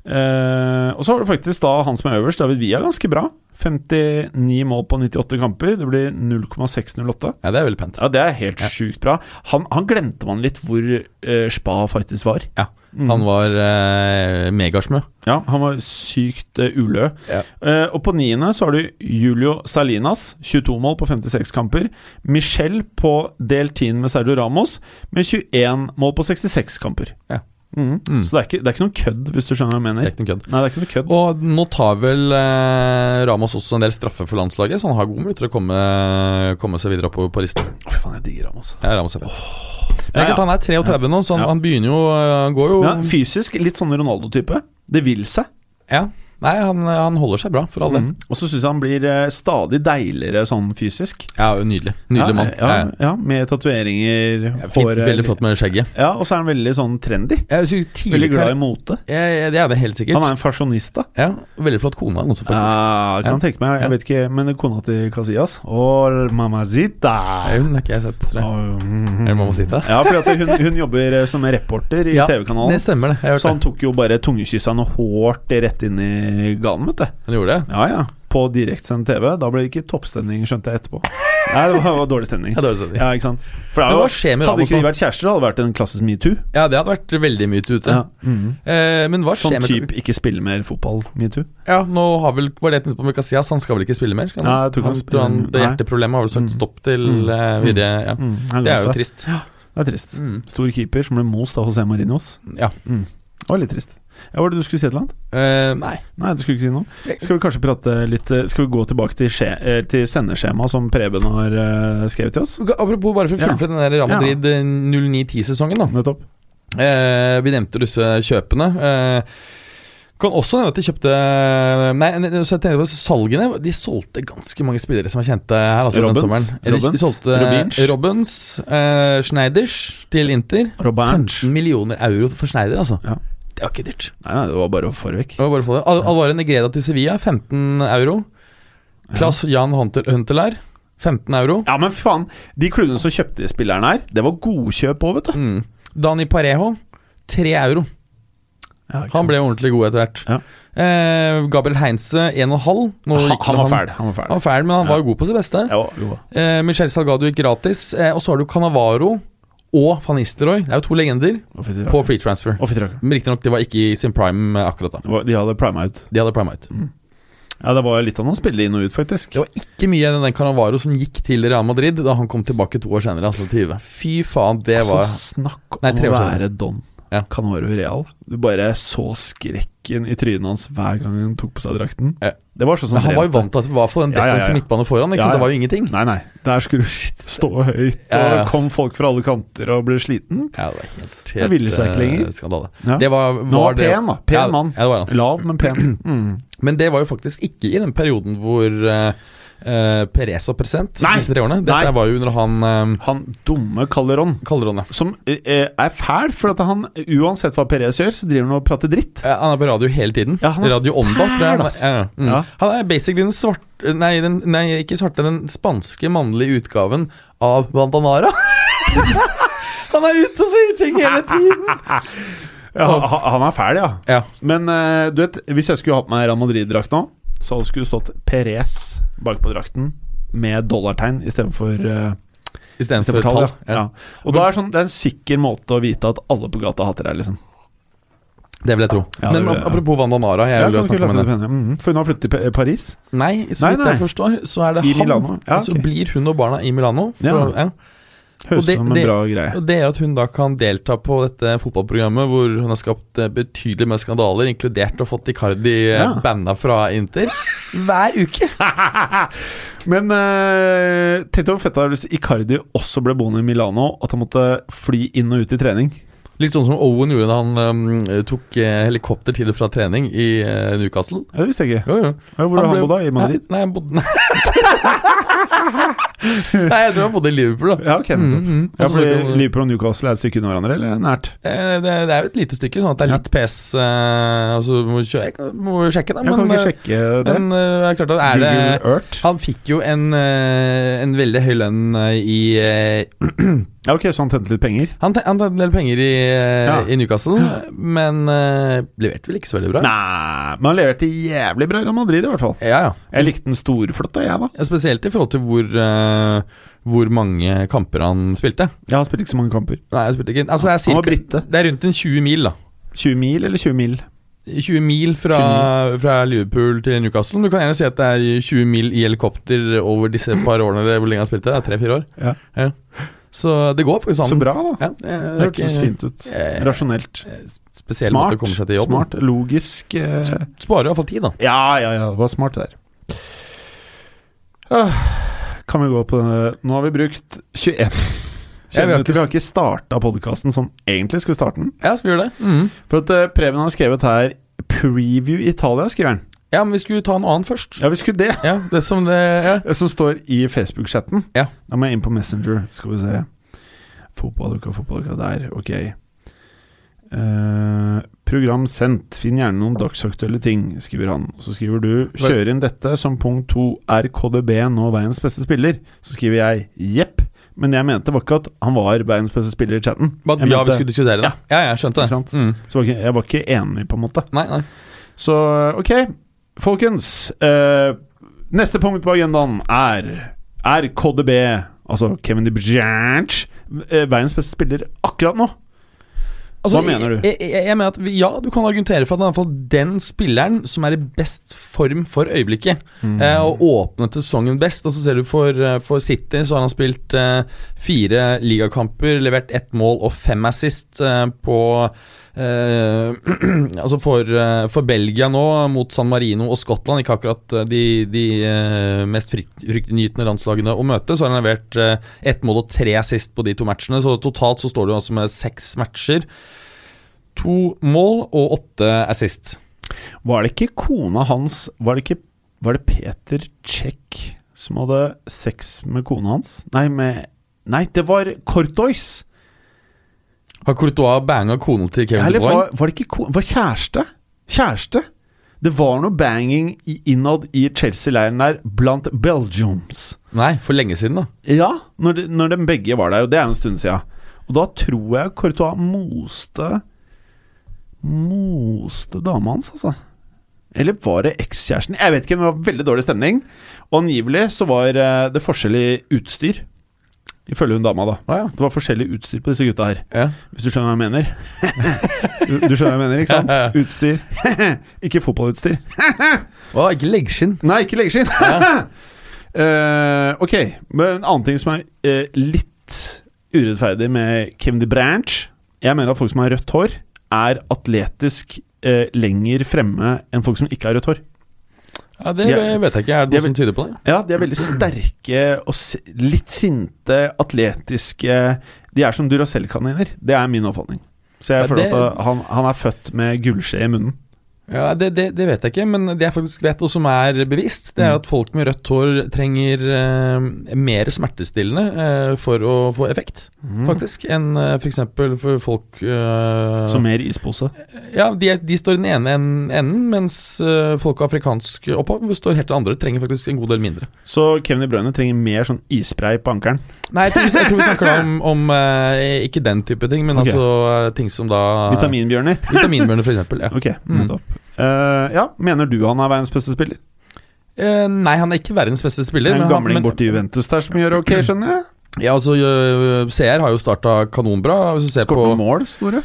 Speaker 3: Eh, og så har du faktisk da han som er øverst, David Villa, ganske bra. 59 mål på 98 kamper. Det blir 0,608.
Speaker 2: Ja, det er veldig pent.
Speaker 3: Ja, Det er helt
Speaker 2: Ja.
Speaker 3: sjukt bra. Han, han glemte man litt hvor eh, spa faktisk var.
Speaker 2: Ja,
Speaker 3: Mhm.
Speaker 2: Han var eh, megasmø.
Speaker 3: Ja, han var sykt eh, ulø.
Speaker 2: Ja.
Speaker 3: Eh, og på niende så har du Julio Salinas, 22 mål på 56 kamper. Michel på del 10 med Sergio Ramos, med 21 mål på 66 kamper.
Speaker 2: Ja.
Speaker 3: Mhm.
Speaker 2: Mm.
Speaker 3: Så det er, ikke, det er ikke noe kødd, hvis du skjønner hva jeg
Speaker 2: Det
Speaker 3: mener.
Speaker 2: er ikke noe kødd.
Speaker 3: Nei, det er ikke noe kødd.
Speaker 2: Og nå tar vel eh, Ramos også en del straffer for landslaget, så han har gode muligheter til å komme, komme seg videre oppover på listen.
Speaker 3: Å, Fy faen, jeg digger altså. Ramos.
Speaker 2: Ja, Ramos er bra. Men det
Speaker 3: Ja,
Speaker 2: er
Speaker 3: ja.
Speaker 2: klart, han er 33 nå, så han,
Speaker 3: Ja.
Speaker 2: han begynner jo eh, Han går jo
Speaker 3: Ja, fysisk litt sånn Ronaldo-type. Det vil seg.
Speaker 2: Ja. Nei, han, han holder seg bra, for all del.
Speaker 3: Mhm. Og så syns jeg han blir eh, stadig deiligere sånn fysisk.
Speaker 2: Ja, nydelig. Nydelig
Speaker 3: ja,
Speaker 2: mann.
Speaker 3: Ja,
Speaker 2: Ja,
Speaker 3: ja, med tatoveringer,
Speaker 2: ja. Fint,
Speaker 3: hår
Speaker 2: veldig flott med skjegget.
Speaker 3: Ja, og så er han veldig sånn trendy.
Speaker 2: Jeg synes tidlig
Speaker 3: Veldig glad i mote.
Speaker 2: Det er det helt sikkert.
Speaker 3: Han er en fasjonist, da.
Speaker 2: Ja, Veldig flott kone, han også, faktisk.
Speaker 3: Ja, Ah, jeg kan tenke meg, jeg
Speaker 2: Ja.
Speaker 3: vet ikke, men kona til Casillas Åh, mamacita!
Speaker 2: Nei, Hun har ikke jeg sett, tror jeg. Eller
Speaker 3: Mamma
Speaker 2: mamma sitte.
Speaker 3: Ja, for at hun, hun jobber eh, som reporter i
Speaker 2: Ja, Det
Speaker 3: TV-kanalen. Sånn.
Speaker 2: stemmer, det. Jeg
Speaker 3: Så
Speaker 2: hørte
Speaker 3: han tok jo bare tungekyssene hårt rett inn i ganen, vet du.
Speaker 2: det. Hun gjorde det?
Speaker 3: Ja ja. På direktsendt TV. Da ble det ikke toppstemning, skjønte jeg etterpå. Nei, det var, var dårlig stemning.
Speaker 2: Ja, det var det.
Speaker 3: Ja, ikke sant. For det er
Speaker 2: Men
Speaker 3: jo-
Speaker 2: hva skjer med
Speaker 3: hadde
Speaker 2: Ramos
Speaker 3: ikke de
Speaker 2: nå?
Speaker 3: vært kjærester, hadde det vært en klassisk metoo.
Speaker 2: Ja, det hadde vært veldig mye ute.
Speaker 3: Ja. Mhm.
Speaker 2: Eh, men hva
Speaker 3: Sånn
Speaker 2: skjer med
Speaker 3: type ikke spille mer fotball, metoo.
Speaker 2: Ja, nå har vel Var det et nytt på med Casillas? Han skal vel ikke spille mer? Skal han?
Speaker 3: Ja, jeg tror ikke han
Speaker 2: han, tror han,
Speaker 3: spiller-
Speaker 2: det
Speaker 3: nei.
Speaker 2: hjerteproblemet har vel sagt
Speaker 3: Mm.
Speaker 2: stopp til
Speaker 3: Mm.
Speaker 2: eh, videre ja.
Speaker 3: Mm,
Speaker 2: Det er jo trist.
Speaker 3: Det er trist.
Speaker 2: Mm.
Speaker 3: Stor keeper som ble most av José Marinos.
Speaker 2: Ja.
Speaker 3: Det var litt trist. Ja, var det du skulle si et eller annet?
Speaker 2: Eh, nei.
Speaker 3: Nei, du skulle ikke si noe. Skal vi kanskje prate litt eh, Skal vi gå tilbake til, skje, eh, til sendeskjemaet som Preben har eh, skrevet til oss?
Speaker 2: Apropos, bare for å
Speaker 3: Ja.
Speaker 2: fullføre den der Real
Speaker 3: Ja.
Speaker 2: Madrid eh, 09-10-sesongen, da.
Speaker 3: Nettopp.
Speaker 2: Eh, vi nevnte disse kjøpene. Eh, kan også nevne at de kjøpte Nei, ne- ne- så jeg tenkte på salgene. De solgte ganske mange spillere som er kjente her. Altså,
Speaker 3: Robbins,
Speaker 2: den sommeren. Eh, de-
Speaker 3: Robbins,
Speaker 2: De solgte
Speaker 3: Robinch.
Speaker 2: Robbins, eh, Schneiders til Inter.
Speaker 3: Robert.
Speaker 2: 15 millioner euro for Schneider, altså.
Speaker 3: Ja.
Speaker 2: Det var ikke dyrt.
Speaker 3: Nei, nei, det var bare å få det vekk.
Speaker 2: Det var bare å få det. Al Alvare Negreda til Sevilla, 15 euro. Klaas Jan Huntel- Huntelaar, 15 euro.
Speaker 3: Ja, men faen. De klubbene som kjøpte de spillerne her, det var godkjøp òg, vet du.
Speaker 2: Mm. Dani Parejo, 3 euro. Han ble ordentlig god etter hvert.
Speaker 3: Ja.
Speaker 2: Eh, Gabriel Heinze 1,5. Nå
Speaker 3: han,
Speaker 2: gikk
Speaker 3: han var
Speaker 2: han-
Speaker 3: fæl. Han var
Speaker 2: Han var
Speaker 3: fæl.
Speaker 2: fæl, men han
Speaker 3: Ja.
Speaker 2: var jo god på sitt beste.
Speaker 3: Ja, jo.
Speaker 2: Eh, Michel Salgado gikk gratis. Eh, og så har du Canavaro og van Nistelrooy. Det er jo to legender
Speaker 3: Å, fy til rakkeren.
Speaker 2: på free transfer.
Speaker 3: Å, fy til rakkeren.
Speaker 2: Men Riktignok, de var ikke i sin prime eh, akkurat da.
Speaker 3: Det var- De hadde prima ut.
Speaker 2: De hadde prime out.
Speaker 3: Ja, det var litt av noe å spille inn og ut, faktisk.
Speaker 2: Det var ikke mye av den Canavaro som gikk til Real Madrid da han kom tilbake to år senere, altså til Juve. Fy faen, det
Speaker 3: Altså,
Speaker 2: var
Speaker 3: snakk om
Speaker 2: Nei, tre
Speaker 3: å
Speaker 2: år
Speaker 3: være Don
Speaker 2: Ja.
Speaker 3: Canoro Real. Du bare så skrekken i trynet hans hver gang han tok på seg drakten.
Speaker 2: Ja.
Speaker 3: Det var sånn
Speaker 2: Men
Speaker 3: som
Speaker 2: han var jo
Speaker 3: trente.
Speaker 2: vant til at det var for den
Speaker 3: Ja, ja, ja,
Speaker 2: defensive
Speaker 3: ja.
Speaker 2: midtbane foran. Ikke
Speaker 3: Ja, ja.
Speaker 2: sant? Det var jo ingenting.
Speaker 3: Nei, nei. Der skulle du shit stå høyt, og
Speaker 2: Ja, ja.
Speaker 3: kom folk fra alle kanter og ble sliten.
Speaker 2: Ja, det var helt, helt
Speaker 3: ville seg ikke
Speaker 2: eh,
Speaker 3: lenger.
Speaker 2: Skandale.
Speaker 3: Ja.
Speaker 2: Det var, var
Speaker 3: Men han var
Speaker 2: det-
Speaker 3: pen, da. Pen
Speaker 2: ja,
Speaker 3: mann.
Speaker 2: Ja, det var han.
Speaker 3: Lav, men pen. Mm.
Speaker 2: Men det var jo faktisk ikke i den perioden hvor eh, eh, Perez var president.
Speaker 3: Nei!
Speaker 2: De siste tre årene. Dette
Speaker 3: Nei!
Speaker 2: var jo under han uh,
Speaker 3: Han dumme Calderon,
Speaker 2: Calderón, ja.
Speaker 3: som eh, er fæl, for at han uansett hva Perez gjør, så driver han og prater dritt.
Speaker 2: Eh, Han er på radio hele tiden.
Speaker 3: Ja, han er
Speaker 2: radio Onda. tror jeg
Speaker 3: fæl,
Speaker 2: han er.
Speaker 3: ass.
Speaker 2: Ja, ja. Mm.
Speaker 3: Ja.
Speaker 2: Han er basically den svarte Nei, den, nei ikke svarte, den spanske mannlige utgaven av Bandanara. han er ute og sier ting hele tiden!
Speaker 3: Ja, han, han er fæl, ja.
Speaker 2: Ja.
Speaker 3: Men eh, du vet, hvis jeg skulle hatt på meg Real Madrid-drakt nå, så skulle det stått Perez bakpå drakten med dollartegn istedenfor uh,
Speaker 2: Istedenfor
Speaker 3: for
Speaker 2: tall.
Speaker 3: tall.
Speaker 2: Ja.
Speaker 3: Ja. Ja. Og da er sånn, det er en sikker måte å vite at alle på gata hater deg, liksom.
Speaker 2: Det vil jeg tro.
Speaker 3: Ja, det
Speaker 2: Men
Speaker 3: vil jeg, ja.
Speaker 2: apropos Bandanara. Jeg vil jo snakke om henne.
Speaker 3: Mm, for hun har flyttet til P- Paris.
Speaker 2: Nei, så
Speaker 3: Nei,
Speaker 2: vidt
Speaker 3: nei.
Speaker 2: jeg forstår, så er det
Speaker 3: I
Speaker 2: han.
Speaker 3: Milano. Ja,
Speaker 2: Så
Speaker 3: ok.
Speaker 2: blir hun og barna i Milano. For,
Speaker 3: Ja.
Speaker 2: ja.
Speaker 3: Høres
Speaker 2: Og det-
Speaker 3: ut som en
Speaker 2: det-
Speaker 3: bra greie.
Speaker 2: Og Det at hun da kan delta på dette fotballprogrammet hvor hun har skapt eh, betydelig med skandaler, inkludert og fått Icardi eh,
Speaker 3: Ja.
Speaker 2: banna fra Inter hver uke.
Speaker 3: Men eh, tenk deg hvor fett det er hvis Icardi også ble boende i Milano, at han måtte fly inn og ut i trening.
Speaker 2: Litt sånn som Owen gjorde da han eh, tok eh, helikopter til og fra trening i eh, Newcastle.
Speaker 3: Ja, Det visste jeg ikke.
Speaker 2: Jo, jo.
Speaker 3: Ja, Hvor har
Speaker 2: ble-
Speaker 3: han bodd da? I Madrid?
Speaker 2: Nei, nei, han bodde Nei, jeg tror han bodde i Liverpool, da.
Speaker 3: Ja, ok.
Speaker 2: Mm,
Speaker 3: nettopp.
Speaker 2: mm.
Speaker 3: Ja,
Speaker 2: Og så
Speaker 3: fordi
Speaker 2: snakker vi om-
Speaker 3: Liverpool og Newcastle er et stykke unna hverandre, eller nært?
Speaker 2: Eh, Det, det er jo et lite stykke, sånn at det er litt PS. Eh, altså, må, vi kjø- jeg kan- må jo sjekke, da.
Speaker 3: Jeg kan
Speaker 2: eh,
Speaker 3: ikke sjekke det.
Speaker 2: men eh, det er klart at er det
Speaker 3: Google Earth?
Speaker 2: Han fikk jo en, eh, en veldig høy lønn eh, i eh,
Speaker 3: Ja, ok, så han tjente litt penger?
Speaker 2: Han te- han tjente en del penger i, eh,
Speaker 3: Ja.
Speaker 2: i Newcastle, men eh, leverte vel ikke så veldig bra.
Speaker 3: Nei, men han leverte jævlig bra i Real Madrid, i hvert fall.
Speaker 2: Ja, ja.
Speaker 3: Jeg likte den storflott, da, jeg, da.
Speaker 2: Ja, Spesielt i forhold til hvor, eh, hvor mange kamper han spilte.
Speaker 3: Jeg har spilt ikke så mange kamper.
Speaker 2: Nei, jeg spilte ikke Altså det er
Speaker 3: Han var
Speaker 2: cirka
Speaker 3: brite.
Speaker 2: Det er rundt en 20 mil, da.
Speaker 3: 20 mil eller 20 mil?
Speaker 2: 20 mil fra, fra Liverpool til Newcastle. Du kan gjerne si at det er 20 mil i helikopter over disse par årene, eller hvor lenge han spilte. Det er Tre-fire år.
Speaker 3: Ja.
Speaker 2: Så det går faktisk an.
Speaker 3: Så bra, da.
Speaker 2: Ja, det er
Speaker 3: Det
Speaker 2: ikke-
Speaker 3: hørtes fint ut.
Speaker 2: eh,
Speaker 3: Rasjonelt.
Speaker 2: Spesiell måte å
Speaker 3: Smart.
Speaker 2: komme seg til jobb.
Speaker 3: Smart. Logisk. eh,
Speaker 2: Sparer iallfall tid, da.
Speaker 3: Ja, ja, ja. Det var smart, det der. Ah, Kan vi gå på denne Nå har vi brukt 21
Speaker 2: Ja, vi har
Speaker 3: 21 minutter.
Speaker 2: ikke-
Speaker 3: Vi har ikke starta podkasten som egentlig skulle starte den.
Speaker 2: Ja, så vi gjør det. Mhm.
Speaker 3: For at eh, Preben har skrevet her 'Preview Italia', skriver han.
Speaker 2: Ja, men vi skulle ta en annen først.
Speaker 3: Ja, vi skulle det.
Speaker 2: Ja, det som det ja.
Speaker 3: Eh, Som står i Facebook-chatten.
Speaker 2: Ja.
Speaker 3: Da må jeg inn på Messenger. Skal vi se Fotballuka, fotballuka der. Ok. Eh, program sendt. Finn gjerne noen dagsaktuelle ting, skriver han. Og så skriver du 'Kjør inn dette som punkt to. Er KDB nå verdens beste spiller?' Så skriver jeg 'jepp'. Men jeg mente var ikke at han var verdens beste spiller i chatten.
Speaker 2: Hva-
Speaker 3: Jeg
Speaker 2: Ja, vi
Speaker 3: mente-
Speaker 2: skulle diskutere det. Ja, jeg skjønte
Speaker 3: Ikke
Speaker 2: det.
Speaker 3: sant?
Speaker 2: Mhm.
Speaker 3: Så var ikke, jeg var ikke enig, på en måte.
Speaker 2: Nei, nei.
Speaker 3: Så ok, folkens. eh, neste punkt på agendaen er Er KDB, altså Kevin De Bruyne, eh, verdens beste spiller akkurat nå? Hva mener du?
Speaker 2: Altså, Jeg, jeg, jeg mener at vi, Ja, du kan argumentere for at det er i hvert fall den spilleren som er i best form for øyeblikket.
Speaker 3: Mm.
Speaker 2: Eh, og åpnet sesongen best. Og så ser du for, eh, for City så har han spilt eh, fire ligakamper, levert ett mål og fem assist eh, på eh, altså for, eh, for Belgia nå, mot San Marino og Skottland, ikke akkurat eh, de, de eh, mest frikt- fryktinngytende landslagene å møte, så har han levert eh, ett mål og tre assist på de to matchene. Så totalt så står du altså med seks matcher. To mål og åtte assist.
Speaker 3: Var det ikke kona hans Var det ikke Var det Peter Czech som hadde sex med kona hans? Nei, med Nei, det var Cortois!
Speaker 2: Har Courtois banga kona til Kevin De
Speaker 3: Eller
Speaker 2: Bruyne?
Speaker 3: var, var det ikke ko- Var kjæreste? Kjæreste? Det var noe banging i- innad i Chelsea-leiren der blant Belgiums.
Speaker 2: Nei, for lenge siden, da.
Speaker 3: Ja, når de, når de begge var der, og det er jo en stund siden. Og da tror jeg Courtois moste Moste dama hans, altså. Eller var det ekskjæresten? Jeg vet ikke, men det var veldig dårlig stemning. Og angivelig så var eh, det forskjell i utstyr, ifølge hun dama, da.
Speaker 2: Å ja.
Speaker 3: Det var forskjellig utstyr på disse gutta her,
Speaker 2: ja.
Speaker 3: hvis du skjønner hva jeg mener. Du, du skjønner hva jeg mener, ikke sant? Utstyr. ikke fotballutstyr.
Speaker 2: Å, ikke leggskinn.
Speaker 3: Nei, ikke leggeskinn. Eh, ok, men en annen ting som er eh, litt urettferdig med Kim de Branch Jeg mener at folk som har rødt hår, er atletisk eh, lenger fremme enn folk som ikke har rødt hår.
Speaker 2: Ja, det
Speaker 3: Ja.
Speaker 2: vet jeg ikke. Er
Speaker 3: Jeg
Speaker 2: det noe som tyder på det?
Speaker 3: Ja, de er veldig sterke og s- litt sinte, atletiske De er som Duracell-kaniner. Det er min oppfatning. Så jeg
Speaker 2: Ja,
Speaker 3: føler
Speaker 2: det-
Speaker 3: at eh, han, han er født med gullskje i munnen.
Speaker 2: Ja, det, det, det vet jeg ikke, men det jeg faktisk vet, og som er bevisst, det er at folk med rødt hår trenger eh, mer smertestillende eh, for å få effekt, faktisk, enn eh, for f.eks. for folk eh,
Speaker 3: Så mer ispose.
Speaker 2: Ja, de, er- de står i den ene en- enden, mens eh, folk av afrikansk opphav står helt til andre, trenger faktisk en god del mindre.
Speaker 3: Så Kevin De Bruyne trenger mer sånn isspray på ankelen.
Speaker 2: Nei, jeg tror, vi- jeg tror vi snakker da om, om eh, ikke den type ting, men
Speaker 3: Ok.
Speaker 2: altså eh, ting som da
Speaker 3: Vitaminbjørner.
Speaker 2: Vitaminbjørner, f.eks. Ja.
Speaker 3: Ok,
Speaker 2: Mm.
Speaker 3: nettopp. Eh, ja, mener du han er verdens beste spiller?
Speaker 2: Eh, nei, han er ikke verdens beste
Speaker 3: Det
Speaker 2: spiller.
Speaker 3: er en
Speaker 2: men han-
Speaker 3: gamling
Speaker 2: men-
Speaker 3: borti Juventus der som gjør ok, skjønner jeg.
Speaker 2: eh, Ja, altså, øh, CR har jo starta kanonbra. Hvis du ser
Speaker 3: Skåret
Speaker 2: på
Speaker 3: noen mål, Store.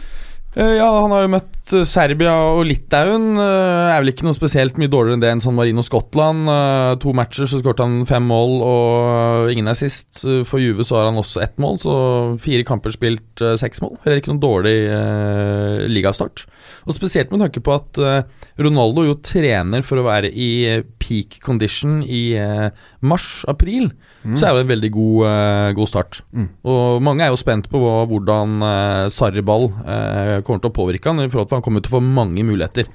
Speaker 2: Eh, Ja, han har jo møtt eh, Serbia og Litauen. Eh, Er vel ikke noe spesielt mye dårligere enn det enn San Marino og Skottland. Eh, To matcher så skåret han fem mål, og ingen er sist. Eh, For Juve så har han også ett mål, så fire kamper spilt eh, seks mål. Heller ikke noen dårlig eh, ligastart. Og spesielt med tanke på at eh, Ronaldo jo trener for å være i eh, peak condition i mars-april, så er det en veldig god, eh, god start.
Speaker 3: Mm.
Speaker 2: Og mange er jo spent på hva- hvordan uh, Sarri Ball eh, kommer til å påvirke han, i forhold til at han kommer til å få mange muligheter.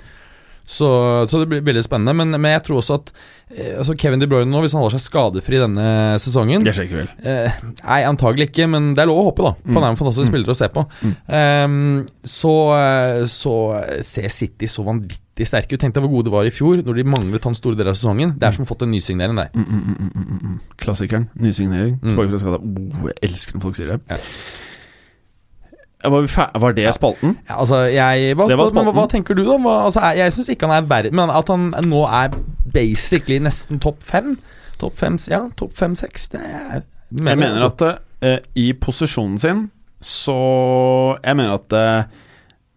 Speaker 2: Så, så det blir veldig spennende. Men, men jeg tror også at eh, altså Kevin De Bruyne nå, hvis han holder seg skadefri denne sesongen
Speaker 3: Det skjer ikke vel.
Speaker 2: Eh, nei, antagelig ikke, men det er lov å håpe, da. For han er en fantastisk
Speaker 3: Mm.
Speaker 2: spiller å se på. Ehm, så, eh, så ser City så vanvittig sterke ut. Tenk deg hvor gode de var i fjor, når de manglet han store deler av sesongen. Det er som å ha fått en nysignering der.
Speaker 3: Mm, mm, mm, mm, mm, mm. Klassikeren. Nysignering.
Speaker 2: Mm.
Speaker 3: Tilbake fra skada. Oh, jeg elsker når folk sier det. Var, vi fer- var det spalten?
Speaker 2: Ja, altså, jeg, hva,
Speaker 3: Det var
Speaker 2: men, hva, hva
Speaker 3: spalten.
Speaker 2: tenker du, da? Hva, altså, jeg jeg syns ikke han er verre, men at han nå er basically nesten topp fem. Topp fem, ja, topp fem-seks. Det er
Speaker 3: Jeg mener at
Speaker 2: altså-
Speaker 3: eh, i posisjonen sin så Jeg mener at eh,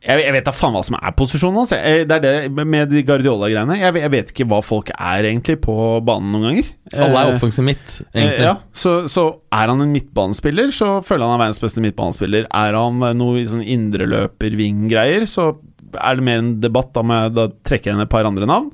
Speaker 3: jeg, jeg vet da faen hva som er posisjonen hans. Jeg- Det er det med de Guardiola-greiene. Jeg, jeg vet ikke hva folk er egentlig på banen noen ganger.
Speaker 2: alle er
Speaker 3: Eh,
Speaker 2: offensive midt,
Speaker 3: Eh,
Speaker 2: egentlig.
Speaker 3: Ja, så, så er han en midtbanespiller, så føler han er verdens beste midtbanespiller. Er han eh, noe i sånn indreløper-ving-greier, så er det mer en debatt. Da, med, da trekker jeg inn et par andre navn.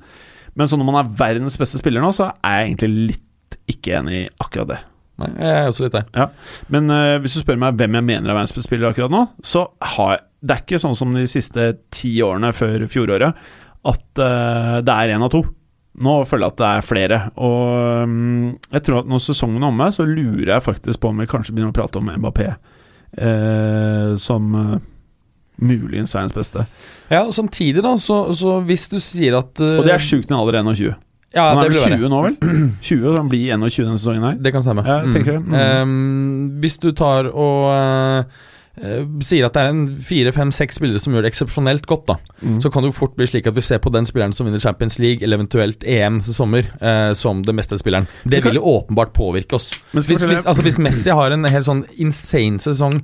Speaker 3: Men sånn når man er verdens beste spiller nå, så er jeg egentlig litt ikke enig i akkurat det.
Speaker 2: Nei, jeg er også litt der.
Speaker 3: Ja. Men eh, hvis du spør meg hvem jeg mener er verdens beste spiller akkurat nå, så har det er ikke sånn som de siste ti årene før fjoråret, at eh, det er én av to. Nå føler jeg at det er flere. Og mm, jeg tror at når sesongen er omme, så lurer jeg faktisk på om vi kanskje begynner å prate om Mbappé eh, som eh, muligens verdens beste.
Speaker 2: Ja, og Samtidig, da, så, så hvis du sier at eh,
Speaker 3: Og det er sjukt når han allerede er 21.
Speaker 2: Ja,
Speaker 3: han
Speaker 2: det
Speaker 3: er
Speaker 2: blir
Speaker 3: vel 20
Speaker 2: verre.
Speaker 3: nå, vel? 20, så han blir 21 denne sesongen her.
Speaker 2: Det kan stemme.
Speaker 3: Ja, jeg tenker det. Mm.
Speaker 2: Ehm, hvis du tar og eh, eh, sier at det er en fire, fem, seks spillere som gjør det eksepsjonelt godt, da,
Speaker 3: Mm.
Speaker 2: så kan det jo fort bli slik at vi ser på den spilleren som vinner Champions League, eller eventuelt EM til sommer, eh, som den beste spilleren. Det
Speaker 3: kan-
Speaker 2: vil jo åpenbart påvirke oss.
Speaker 3: Men skal jeg
Speaker 2: Hvis,
Speaker 3: fortelle-
Speaker 2: hvis, altså, hvis Messi har en helt sånn insane sesong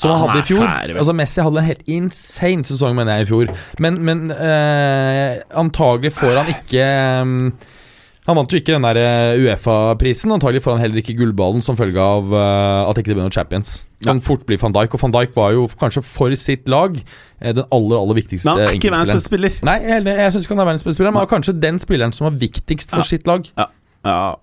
Speaker 2: som
Speaker 3: Ja,
Speaker 2: han
Speaker 3: han
Speaker 2: hadde
Speaker 3: er
Speaker 2: i fjor
Speaker 3: fæl, vel.
Speaker 2: Altså Messi hadde en helt insane sesong, mener jeg, i fjor. Men, men eh, antagelig får han ikke eh, han vant jo ikke den der eh, Uefa-prisen. Antagelig får han heller ikke gullballen som følge av eh, at ikke det ble noen Champions. Kan fort bli van Dijk, og van Dijk var jo kanskje for sitt lag eh, den aller aller viktigste
Speaker 3: Men han er ikke verdens
Speaker 2: enkeltspilleren.
Speaker 3: beste spiller.
Speaker 2: Nei, jeg, jeg syns ikke han er verdens beste spiller, men han var kanskje den spilleren som var viktigst for
Speaker 3: Ja.
Speaker 2: sitt lag.
Speaker 3: Ja, ja, ja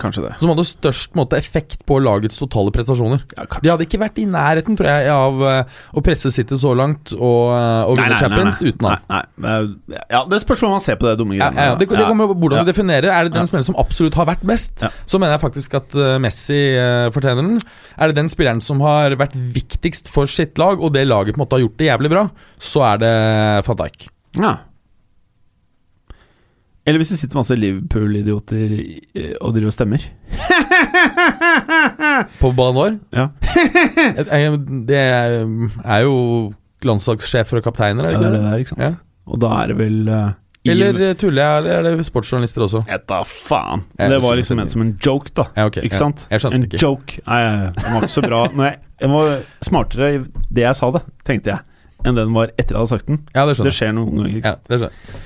Speaker 3: kanskje det.
Speaker 2: Som hadde størst på en måte, effekt på lagets totale prestasjoner.
Speaker 3: Ja, kanskje.
Speaker 2: De hadde ikke vært i nærheten, tror jeg, av eh, å presse City så langt og, eh, og vinne Champions uten han.
Speaker 3: Nei, nei, eh, Ja, det spørs hvordan man ser på det dumme
Speaker 2: Ja,
Speaker 3: greiene.
Speaker 2: ja, ja. Det, det
Speaker 3: Ja.
Speaker 2: kommer jo på hvordan
Speaker 3: Ja.
Speaker 2: vi definerer. Er det den
Speaker 3: Ja.
Speaker 2: spilleren som absolutt har vært best,
Speaker 3: Ja.
Speaker 2: så mener jeg faktisk at eh, Messi eh, fortjener den. Er det den spilleren som har vært viktigst for sitt lag, og det laget på en måte har gjort det jævlig bra, så er det van Dijk.
Speaker 3: Ja. Eller hvis det sitter masse Liverpool-idioter i- eh, og driver og stemmer.
Speaker 2: På Ballon d'Or.
Speaker 3: Ja,
Speaker 2: Jeg- jeg- Det er jo landslagssjefer og kapteiner,
Speaker 3: det er det
Speaker 2: er det ikke det?
Speaker 3: der, ikke sant.
Speaker 2: Ja.
Speaker 3: Og da er det vel eh, i-
Speaker 2: Eller tuller jeg, eller er det sportsjournalister også?
Speaker 3: Et da faen.
Speaker 2: Jeg
Speaker 3: Det var
Speaker 2: husker
Speaker 3: liksom
Speaker 2: ikke.
Speaker 3: ment som en joke, da.
Speaker 2: Ja, ok,
Speaker 3: Ikke
Speaker 2: ja.
Speaker 3: sant?
Speaker 2: Jeg skjønte
Speaker 3: en
Speaker 2: ikke.
Speaker 3: joke. Nei, den var ikke så bra. Nei, jeg var smartere i det jeg sa det, tenkte jeg, enn den var etter jeg hadde sagt den.
Speaker 2: Ja, det
Speaker 3: Det
Speaker 2: skjønner jeg.
Speaker 3: skjer noen ganger, ikke
Speaker 2: Ja,
Speaker 3: sant.
Speaker 2: det skjønner. jeg.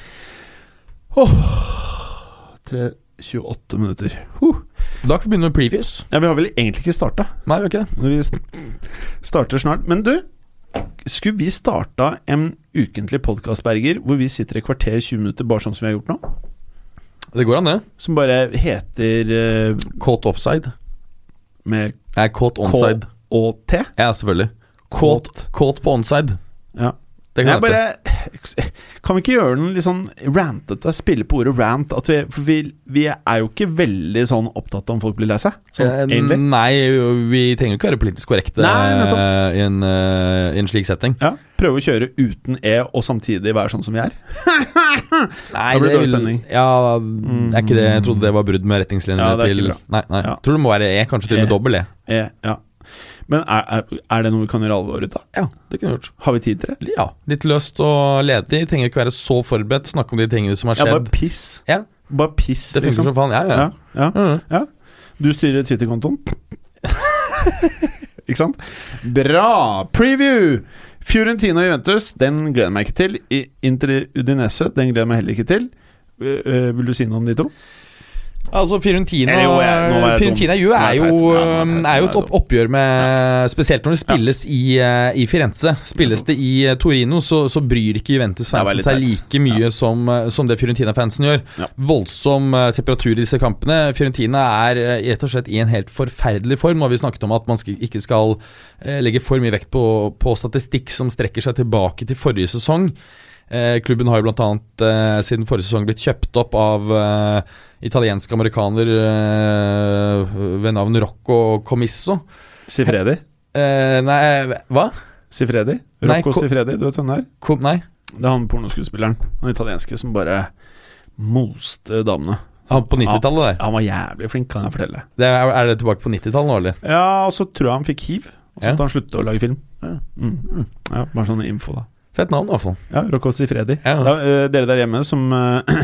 Speaker 3: 3, 28 minutter. Huh.
Speaker 2: Da kan vi begynne med previews.
Speaker 3: Ja, vi har vel egentlig ikke starta.
Speaker 2: Nei, vi gjør ikke det.
Speaker 3: Vi s- starter snart. Men du, skulle vi starta en ukentlig podkast, Berger, hvor vi sitter et kvarter 20 minutter, bare sånn som vi har gjort nå?
Speaker 2: Det går an, det.
Speaker 3: Som bare heter eh,
Speaker 2: Caught offside.
Speaker 3: med
Speaker 2: Nei, caught onside.
Speaker 3: K og T?
Speaker 2: Ja, selvfølgelig. Caught, caught på onside.
Speaker 3: Ja.
Speaker 2: Det kan
Speaker 3: Jeg
Speaker 2: jeg bare...
Speaker 3: bare, eh, kan vi ikke gjøre den litt sånn rantete? Spille på ordet rant? At vi, for vi, vi er jo ikke veldig sånn opptatt om folk blir lei seg, sånn egentlig.
Speaker 2: Nei, vi trenger jo ikke være politisk korrekte
Speaker 3: Nei, nettopp.
Speaker 2: eh, i, en, eh, i en slik setting.
Speaker 3: Ja, Prøve å kjøre uten E og samtidig være sånn som vi er.
Speaker 2: Nei,
Speaker 3: Da blir det dårlig
Speaker 2: vil-
Speaker 3: stemning.
Speaker 2: Ja, er ikke det Jeg trodde det var brudd med retningslinjene
Speaker 3: Mm. Ja, det er
Speaker 2: til
Speaker 3: ikke
Speaker 2: Nei, nei.
Speaker 3: Ja.
Speaker 2: Tror det må være E, kanskje til og
Speaker 3: E.
Speaker 2: med dobbel E.
Speaker 3: E, ja. Men er, er, er det noe vi kan gjøre alvor ut av?
Speaker 2: Ja, det kunne jeg gjort.
Speaker 3: Har vi tid til det?
Speaker 2: Ja, Litt løst og ledig. Trenger ikke være så forberedt. Snakke om de tingene som har
Speaker 3: Ja, bare
Speaker 2: skjedd.
Speaker 3: piss.
Speaker 2: Ja,
Speaker 3: Bare piss,
Speaker 2: Det
Speaker 3: liksom.
Speaker 2: funker som faen. Ja, ja.
Speaker 3: Ja, ja.
Speaker 2: Mhm.
Speaker 3: Du styrer Twitter-kontoen. Ikke sant? Bra! Preview! Fiorentina og Juventus, den gleder jeg meg ikke til. I- Inter Udinese, den gleder jeg meg heller ikke til. Eh, eh, vil du si noe om de to?
Speaker 2: Altså Fiorentina
Speaker 3: Eller jo, jeg- nå var jeg
Speaker 2: Fiorentina
Speaker 3: dum.
Speaker 2: Ju
Speaker 3: Nå er
Speaker 2: er
Speaker 3: jeg
Speaker 2: jo,
Speaker 3: teit. Ja, nå er jeg teit.
Speaker 2: um, er jo
Speaker 3: Nå er
Speaker 2: et
Speaker 3: jeg
Speaker 2: opp oppgjør med Spesielt når det spilles i, eh, i Firenze. Spilles det i eh, Torino, så, så bryr
Speaker 3: Det
Speaker 2: ikke
Speaker 3: er
Speaker 2: Juventus-fansen
Speaker 3: veldig
Speaker 2: seg
Speaker 3: teit.
Speaker 2: like mye som, eh, som det Fiorentina-fansen gjør.
Speaker 3: Ja.
Speaker 2: Voldsom eh, temperatur i disse kampene. Fiorentina er eh, rett og slett i en helt forferdelig form. Nå har vi snakket om at man skal, ikke skal eh, legge for mye vekt på, på statistikk som strekker seg tilbake til forrige sesong. Eh, klubben har jo bl.a. Eh, siden forrige sesong blitt kjøpt opp av eh, italiensk amerikaner eh, ved navn Rocco Comisso.
Speaker 3: Sifredi?
Speaker 2: Eh, nei, hva?
Speaker 3: Sifredi?
Speaker 2: Nei,
Speaker 3: Rocco
Speaker 2: ko-
Speaker 3: Sifredi, du vet hvem det er?
Speaker 2: Kom, nei.
Speaker 3: Det er han pornoskuespilleren. Han italienske som bare moste damene.
Speaker 2: Han på 90-tallet der.
Speaker 3: Han var jævlig flink, kan jeg fortelle.
Speaker 2: Det er, er det tilbake på 90-tallet nå, eller?
Speaker 3: Ja, og så tror jeg han fikk hiv. Og så
Speaker 2: Ja.
Speaker 3: måtte han sluttet å lage film. Ja. Mm. ja, Bare sånn info, da.
Speaker 2: Fett navn, i hvert fall.
Speaker 3: Ja, Rocco Sifredi.
Speaker 2: Ja.
Speaker 3: Da, eh, dere der hjemme som eh,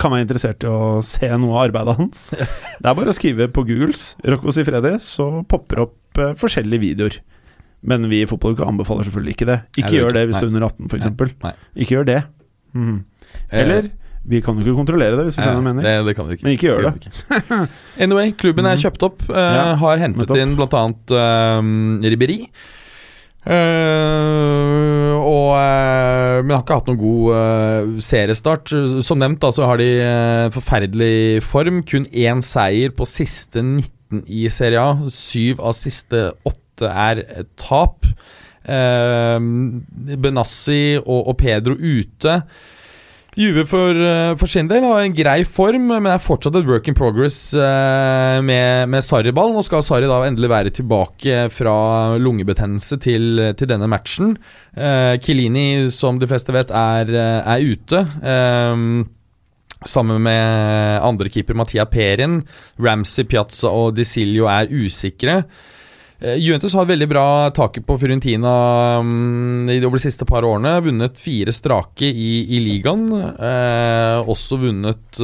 Speaker 3: kan være interessert i å se noe av arbeidet hans, det er bare å skrive på Googles Rocco Sifredi, så popper opp eh, forskjellige videoer. Men vi i Fotballuka anbefaler selvfølgelig ikke det. Ikke
Speaker 2: Nei, det er
Speaker 3: gjør det
Speaker 2: ikke-
Speaker 3: hvis du er under 18,
Speaker 2: Nei,
Speaker 3: f.eks.
Speaker 2: nei.
Speaker 3: Ikke gjør det. Mm. Eller Vi kan jo ikke kontrollere det, hvis du
Speaker 2: Eh,
Speaker 3: skjønner hva jeg mener.
Speaker 2: det, det kan du ikke.
Speaker 3: Men ikke gjør det.
Speaker 2: kan du ikke. anyway, klubben er
Speaker 3: Mhm.
Speaker 2: kjøpt opp. eh,
Speaker 3: Ja,
Speaker 2: har hentet
Speaker 3: nettopp.
Speaker 2: inn bl.a. Um, Riberi. Eh, og, eh, men har ikke hatt noen god eh, seriestart. Som nevnt da, så har de eh, forferdelig form. Kun én seier på siste 19 i Serie A. Syv av siste åtte er eh, tap. Eh, Benassi og, og Pedro ute. Juve for, eh, for sin del har en grei form, men er fortsatt et work in progress eh, med, med Sarri-ball. Nå skal Sarri da endelig være tilbake fra lungebetennelse til, til denne matchen. Eh, Kilini, som de fleste vet, er, eh, er ute. Eh, sammen med andrekeeper Mattia Perin. Ramsey, Piazza og Di Silio er usikre. Eh, Juventus har veldig bra taket på Fiorentina mm, i de over de siste par årene. Vunnet fire strake i, i ligaen. Eh, også vunnet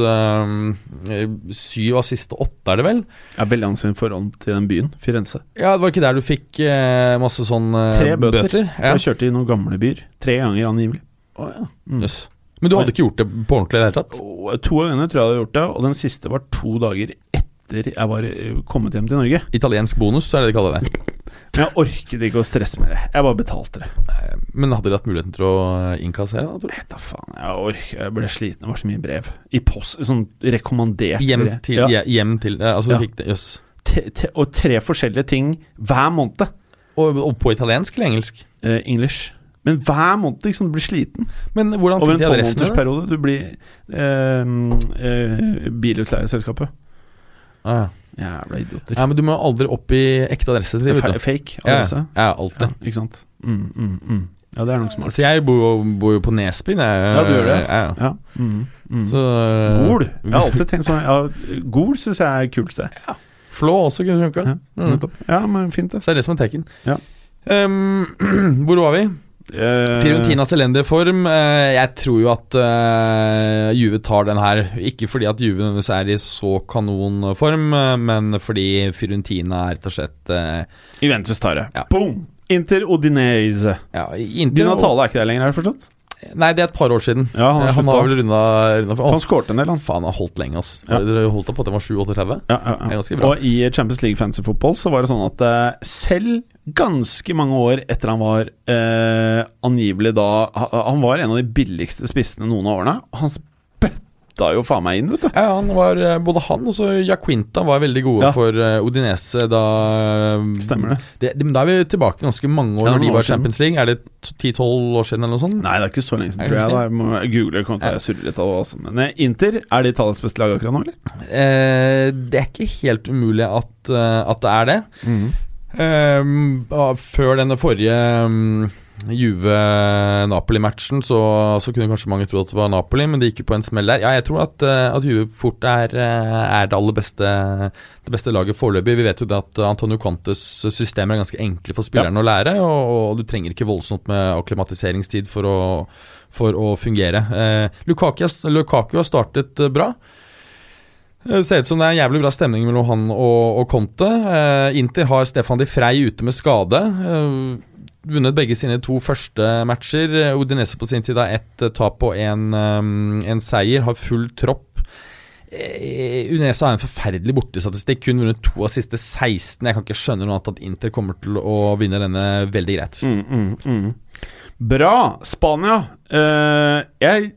Speaker 2: eh, syv av siste åtte, er det vel?
Speaker 3: Jeg er veldig anstrengt forhold til den byen, Firenze.
Speaker 2: Ja, det var ikke der du fikk eh, masse sånn eh,
Speaker 3: Tre bøter.
Speaker 2: Ja.
Speaker 3: Jeg kjørte i noen gamle byer. Tre ganger angivelig. Mm.
Speaker 2: Jøss. Men du hadde ikke gjort det på ordentlig i det hele tatt?
Speaker 3: Og To av gangene tror jeg jeg hadde gjort det, og den siste var to dager etter jeg var eh, kommet hjem til Norge.
Speaker 2: Italiensk bonus, er det de kaller det.
Speaker 3: Men jeg orket ikke å stresse med det. Jeg bare betalte det.
Speaker 2: Eh, Men hadde de hatt muligheten til å eh, innkassere? Da, tror du?
Speaker 3: Nei, Da faen, jeg ork, jeg ble sliten. Det var så mye brev. I post, sånn rekommandert
Speaker 2: Hjem
Speaker 3: brev.
Speaker 2: til,
Speaker 3: ja.
Speaker 2: ja. hjem til eh, Altså, du
Speaker 3: Ja.
Speaker 2: fikk det Jøss.
Speaker 3: te, te, Og tre forskjellige ting hver måned.
Speaker 2: Og, og på italiensk eller engelsk?
Speaker 3: Eh, English. Men hver måned, liksom. Du blir sliten.
Speaker 2: Men hvordan
Speaker 3: Over en
Speaker 2: fikk de adressen? din, da?
Speaker 3: tolvmånedersperiode. Du blir eh, eh, bilutleieselskapet.
Speaker 2: Ah, ja.
Speaker 3: Jævla idioter.
Speaker 2: Ja, men du må aldri opp i ekte adresse. Til,
Speaker 3: Fa-
Speaker 2: vet du.
Speaker 3: Fake
Speaker 2: Ja,
Speaker 3: adresse.
Speaker 2: ja, alltid.
Speaker 3: Ja, ikke sant. Mm, mm, mm. Ja, det er nok smart.
Speaker 2: Så jeg bor jo, bor jo på Nesbyen. Jeg,
Speaker 3: Ja, du gjør det.
Speaker 2: Ja, ja.
Speaker 3: Ja. Mm, mm.
Speaker 2: Så eh,
Speaker 3: Gol. Jeg har alltid tenkt sånn ja, Gol syns jeg er kult sted.
Speaker 2: Flå også kunne funka.
Speaker 3: Ja,
Speaker 2: Mm.
Speaker 3: nettopp. ja men fint, det.
Speaker 2: Så det er det som er teken.
Speaker 3: Ja.
Speaker 2: Um, hvor var vi?
Speaker 3: Eh,
Speaker 2: Fiorentinas elendige form. Eh, jeg tror jo at eh, Juve tar den her. Ikke fordi at Juve nødvendigvis er i så kanonform, eh, men fordi Fiorentina er rett og slett eh,
Speaker 3: Juventus tar det.
Speaker 2: Ja.
Speaker 3: Boom! Inter Odinese.
Speaker 2: ja, inntil
Speaker 3: Din Natale er ikke der lenger, har jeg forstått?
Speaker 2: Nei, det er et par år siden.
Speaker 3: Ja, han
Speaker 2: Han,
Speaker 3: har
Speaker 2: han
Speaker 3: slutta.
Speaker 2: har vel runda, runda
Speaker 3: For Han skårte en del, han.
Speaker 2: Faen, han har holdt lenge, ass.
Speaker 3: Ja.
Speaker 2: Dere holdt da på at den var 7-38?
Speaker 3: Ja, ja,
Speaker 2: Det er
Speaker 3: ja.
Speaker 2: ganske bra.
Speaker 3: Og i Champions League Fancy Football så var det sånn at eh, selv ganske mange år etter han var eh, angivelig da ha- Han var en av de billigste spissene noen av årene. og Han spytta jo faen meg inn, vet du.
Speaker 2: Ja, han var, eh, både han og så Jaquinta var veldig gode
Speaker 3: Ja.
Speaker 2: for eh, Odinese da eh,
Speaker 3: Stemmer det?
Speaker 2: det, det- men Da er vi tilbake ganske mange år
Speaker 3: Ja,
Speaker 2: når
Speaker 3: noen
Speaker 2: de
Speaker 3: år
Speaker 2: var
Speaker 3: siden.
Speaker 2: Champions League. Er det t- 10-12 år siden eller noe sånt?
Speaker 3: Nei, det er ikke så lenge siden,
Speaker 2: Er det
Speaker 3: tror jeg.
Speaker 2: ikke?
Speaker 3: Da. Jeg må google kommer til å surre litt av det også. Men eh, Inter, er det Italias beste lag akkurat nå, eller?
Speaker 2: Eh, det er ikke helt umulig at, eh, at det er det. Ehm, ah, før denne forrige mm, Juve-Napoli-matchen så, så kunne kanskje mange tro at det var Napoli, men det gikk jo på en smell der. Ja, jeg tror at, eh, at Juve fort er, eh, er det aller beste, det beste laget foreløpig. Vi vet jo det at Antonio Contes systemer er ganske enkle for spillerne å lære, og, og du trenger ikke voldsomt med akklimatiseringstid for å, for å fungere. Eh, Lukaku, har- Lukaku har startet eh, bra. Det ser ut som det er en jævlig bra stemning mellom han og, og Conte. Eh, Inter har Stefan de Frey ute med skade. Eh, vunnet begge sine to første matcher. Eh, Udinese på sin side har ett eh, tap og en, eh, en seier, har full tropp. Eh, Udinese har en forferdelig bortestatistikk, kun vunnet to av siste 16. Jeg kan ikke skjønne noe annet at Inter kommer til å vinne denne veldig greit.
Speaker 3: Mm, mm, mm. Bra. Spania. Eh, jeg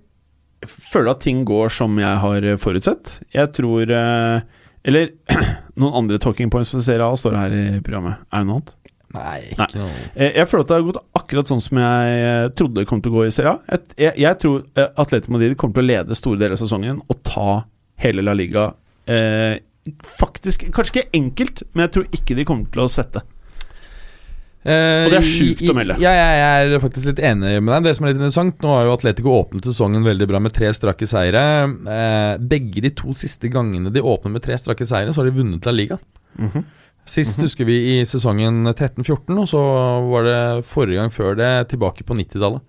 Speaker 3: føler at ting går som jeg har forutsett. Jeg tror eh, Eller noen andre talking points på Serie A står her i programmet. Er det noe annet?
Speaker 2: Nei, ikke noe
Speaker 3: Eh, Jeg føler at det har gått akkurat sånn som jeg eh, trodde det kom til å gå i Serie A. Et- Jeg, jeg tror eh, Atletico Madrid kommer til å lede store deler av sesongen og ta hele La Liga. Eh, faktisk Kanskje ikke enkelt, men jeg tror ikke de kommer til å svette.
Speaker 2: Eh,
Speaker 3: Og det er
Speaker 2: i-
Speaker 3: sjukt å
Speaker 2: i-
Speaker 3: melde.
Speaker 2: Ja, jeg er faktisk litt enig med deg. Det som er litt interessant, nå har jo Atletico åpnet sesongen veldig bra med tre strake seire. Eh, begge de to siste gangene de åpner med tre strake seire, så har de vunnet La Liga.
Speaker 3: Mhm.
Speaker 2: Sist husker vi i sesongen 13-14, og så var det forrige gang før det tilbake på 90-tallet.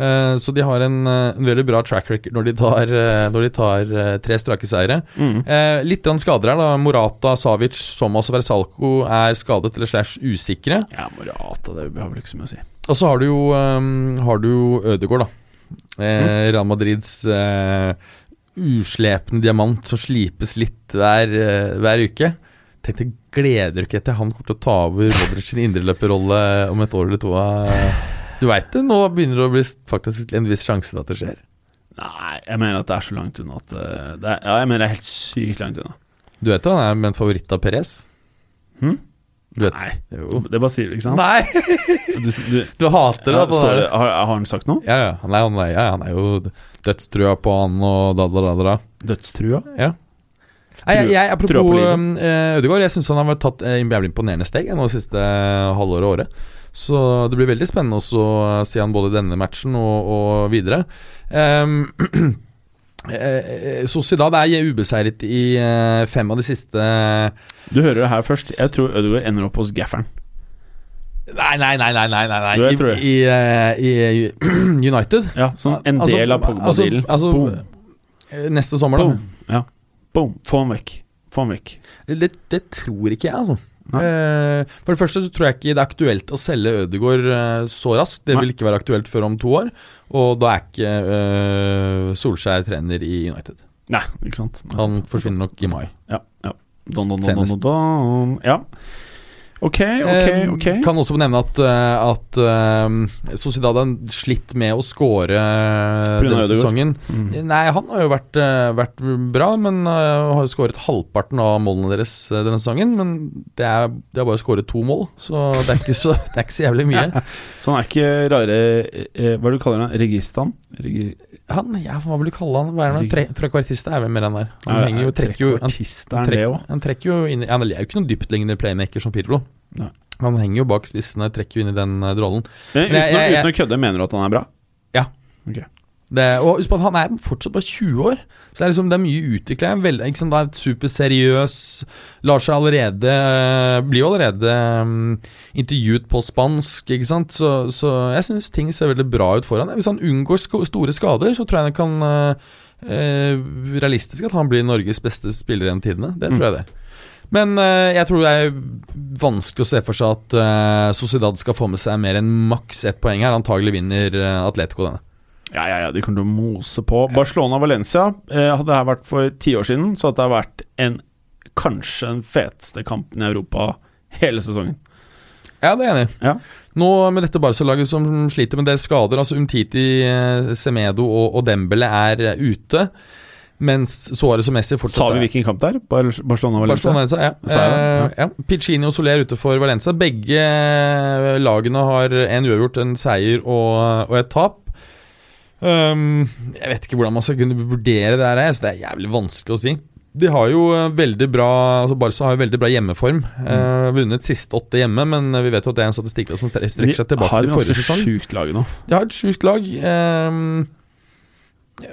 Speaker 2: Eh, Så de har en, eh, en veldig bra track record når de tar, eh, når de tar eh, tre strake seire.
Speaker 3: Mhm.
Speaker 2: Eh, Litt grann skader her, da. Morata, Savic, Somas og Versalco er skadet eller slash usikre.
Speaker 3: Ja, Morata, det har vel ikke så mye å si.
Speaker 2: Og så har du jo um, Har du jo Ødegaard, da. Eh,
Speaker 3: Mm.
Speaker 2: Real Madrids eh, uslepne diamant som slipes litt hver, eh, hver uke. Tenk deg, gleder du ikke til han kommer til å ta over Modric sin indreløperrolle om et år eller to? eh? Du veit det, nå begynner det å bli faktisk en viss sjanse for at det skjer.
Speaker 3: Nei, jeg mener at det er så langt unna at eh, det er, Ja, jeg mener det er helt sykt langt unna.
Speaker 2: Du vet jo han er med en favoritt av Perez?
Speaker 3: Hm?
Speaker 2: Du vet,
Speaker 3: Nei,
Speaker 2: jo.
Speaker 3: det bare sier du, ikke sant?
Speaker 2: Nei!
Speaker 3: Du, du,
Speaker 2: Du hater
Speaker 3: ja,
Speaker 2: det. at han
Speaker 3: står
Speaker 2: er-
Speaker 3: det- har, har han sagt noe?
Speaker 2: Ja, ja. Han er, han er, ja, han er jo dødstrua på han og da, da, da, da. da.
Speaker 3: Dødstrua?
Speaker 2: Ja. Nei, jeg,
Speaker 3: Trua
Speaker 2: jeg,
Speaker 3: på
Speaker 2: apropos
Speaker 3: livet.
Speaker 2: um, eh, Ødegaard, jeg syns han har tatt eh, jævlig imponerende steg eh, nå det siste eh, halvåret og året. Så det blir veldig spennende også å eh, se han både i denne matchen og, og videre. Um, eh, eh, Sociedad er ubeseiret i eh, fem av de siste eh,
Speaker 3: Du hører det her først. Jeg tror Ødegaard ender opp hos gafferen.
Speaker 2: Nei, nei, nei, nei, nei, nei,
Speaker 3: Jo,
Speaker 2: nei.
Speaker 3: jeg tror
Speaker 2: I, i, eh, i United.
Speaker 3: Ja, som en
Speaker 2: Altså,
Speaker 3: del av Pogba-dealen.
Speaker 2: Altså,
Speaker 3: Boom.
Speaker 2: altså, neste sommer, da.
Speaker 3: Boom. Ja. Boom. Få ham vekk. Få ham vekk.
Speaker 2: Det, det tror ikke jeg, altså.
Speaker 3: Nei.
Speaker 2: Eh, for det første så tror jeg ikke det er aktuelt å selge Ødegaard eh, så raskt. Det
Speaker 3: Nei.
Speaker 2: vil ikke være aktuelt før om to år. Og da er ikke eh, Solskjær trener i United.
Speaker 3: Nei, ikke sant. Nei.
Speaker 2: Han forsvinner nok i mai.
Speaker 3: Ja. ja. Don, don, don, don,
Speaker 2: Senest.
Speaker 3: don. Ja. Ok, ok,
Speaker 2: Eh,
Speaker 3: ok.
Speaker 2: Kan også nevne at, eh, at eh, Sociedad har slitt med å score eh,
Speaker 3: På grunn
Speaker 2: denne
Speaker 3: av Ødegaard.
Speaker 2: sesongen.
Speaker 3: Mm.
Speaker 2: Nei, han har jo vært, eh, vært bra, men eh, har jo skåret halvparten av målene deres eh, denne sesongen. Men det er, det er bare skåret to mål, så det er ikke så, det er ikke så jævlig mye.
Speaker 3: Så han er ikke rare eh, Hva er det du kaller han? Registan? Regi
Speaker 2: Han, ja, hva vil du kalle han? Hva er han? Tre, trekvartist er vel mer han der. Han
Speaker 3: Nei,
Speaker 2: henger jo, trekker jo han,
Speaker 3: trekkvartist, er han det
Speaker 2: trekk,
Speaker 3: òg?
Speaker 2: han trekker jo inn i Han er jo ikke noen dyptliggende playmaker som Pirlo.
Speaker 3: Nei.
Speaker 2: Han henger jo bak spissene, trekker jo inn i den eh, rollen.
Speaker 3: Eh, Uten,
Speaker 2: Men jeg-
Speaker 3: å-
Speaker 2: jeg-
Speaker 3: uten å kødde, mener du at han er bra?
Speaker 2: Ja.
Speaker 3: Ok.
Speaker 2: Det, og husk på at han er fortsatt bare 20 år, så det er, liksom, det er mye utvikling. Vel, ikke sant? Han er superseriøs, lar seg allerede eh, Blir jo allerede mm, intervjuet på spansk, ikke sant. Så, så jeg syns ting ser veldig bra ut for han Hvis han unngår sko store skader, så tror jeg det kan eh, eh, Realistisk at han blir Norges beste spiller gjennom tidene. Det tror jeg det. Men eh, jeg tror det er vanskelig å se for seg at eh, Sociedad skal få med seg mer enn maks ett poeng her. Antagelig vinner eh, Atletico denne.
Speaker 3: Ja, ja, ja, de kommer til å mose på. Barcelona-Valencia eh, hadde det her vært for ti år siden, så hadde det vært en, kanskje den feteste kampen i Europa hele sesongen.
Speaker 2: Ja, det er jeg enig. i.
Speaker 3: Ja.
Speaker 2: Nå med dette Barca-laget som sliter med en del skader, altså Umtiti, eh, Semedo og, og Dembele er eh, ute, mens Suárez og Messi fortsatt
Speaker 3: Sa vi
Speaker 2: er-
Speaker 3: hvilken kamp det er? Bar- Barcelona-Valencia?
Speaker 2: Barcelona, ja.
Speaker 3: Sa jeg det?
Speaker 2: Eh, ja. Piccini og Soler ute for Valencia. Begge eh, lagene har en uavgjort, en seier og, og et tap. Ehm, jeg vet ikke hvordan man skal kunne vurdere det her, jeg, så det er jævlig vanskelig å si. De har jo eh, veldig bra altså Barca har jo veldig bra hjemmeform.
Speaker 3: Mm.
Speaker 2: Eh, vunnet siste åtte hjemme, men eh, vi vet jo at det er en statistikk da som tre-
Speaker 3: Vi
Speaker 2: strekker seg tilbake
Speaker 3: har et
Speaker 2: til forrige
Speaker 3: ganske
Speaker 2: sesong.
Speaker 3: sjukt lag nå.
Speaker 2: De har et sjukt lag. ehm,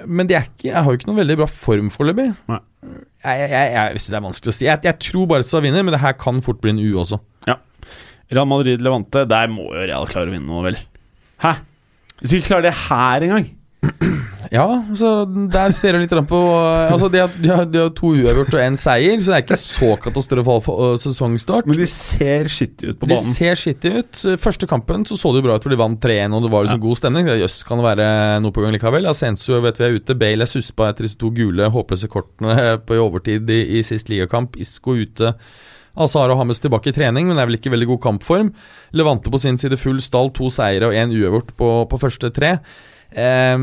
Speaker 2: men de er ikke, jeg har jo ikke noen veldig bra form foreløpig.
Speaker 3: Nei.
Speaker 2: Jeg, jeg, jeg, jeg syns det er vanskelig å si. Jeg, jeg tror Barca vinner, men det her kan fort bli en U også.
Speaker 3: Real Madrid Levante, der må jo Real klare å vinne noe, vel? Hæ? Hvis vi ikke klarer det her engang
Speaker 2: Ja, så der ser du litt grann på Altså, de har, de har, de har to uavgjort og én seier, så det er ikke så katastrofal for- øh, sesongstart.
Speaker 3: Men de ser skittige ut på
Speaker 2: De
Speaker 3: banen.
Speaker 2: ser skittig ut. Første kampen så, så det jo bra ut, for de vant 3-1, og det var liksom god stemning. Ja, Jøss, kan det være noe på gang likevel? Asensio vet vi er ute. Bale er suspa etter disse to gule håpløse kortene på i overtid i, i sist ligakamp. Isco ute. Azar og Hammes tilbake i trening, men er vel ikke i veldig god kampform. Levante på sin side full stall, to seire og én uavgjort på, på første tre. Eh,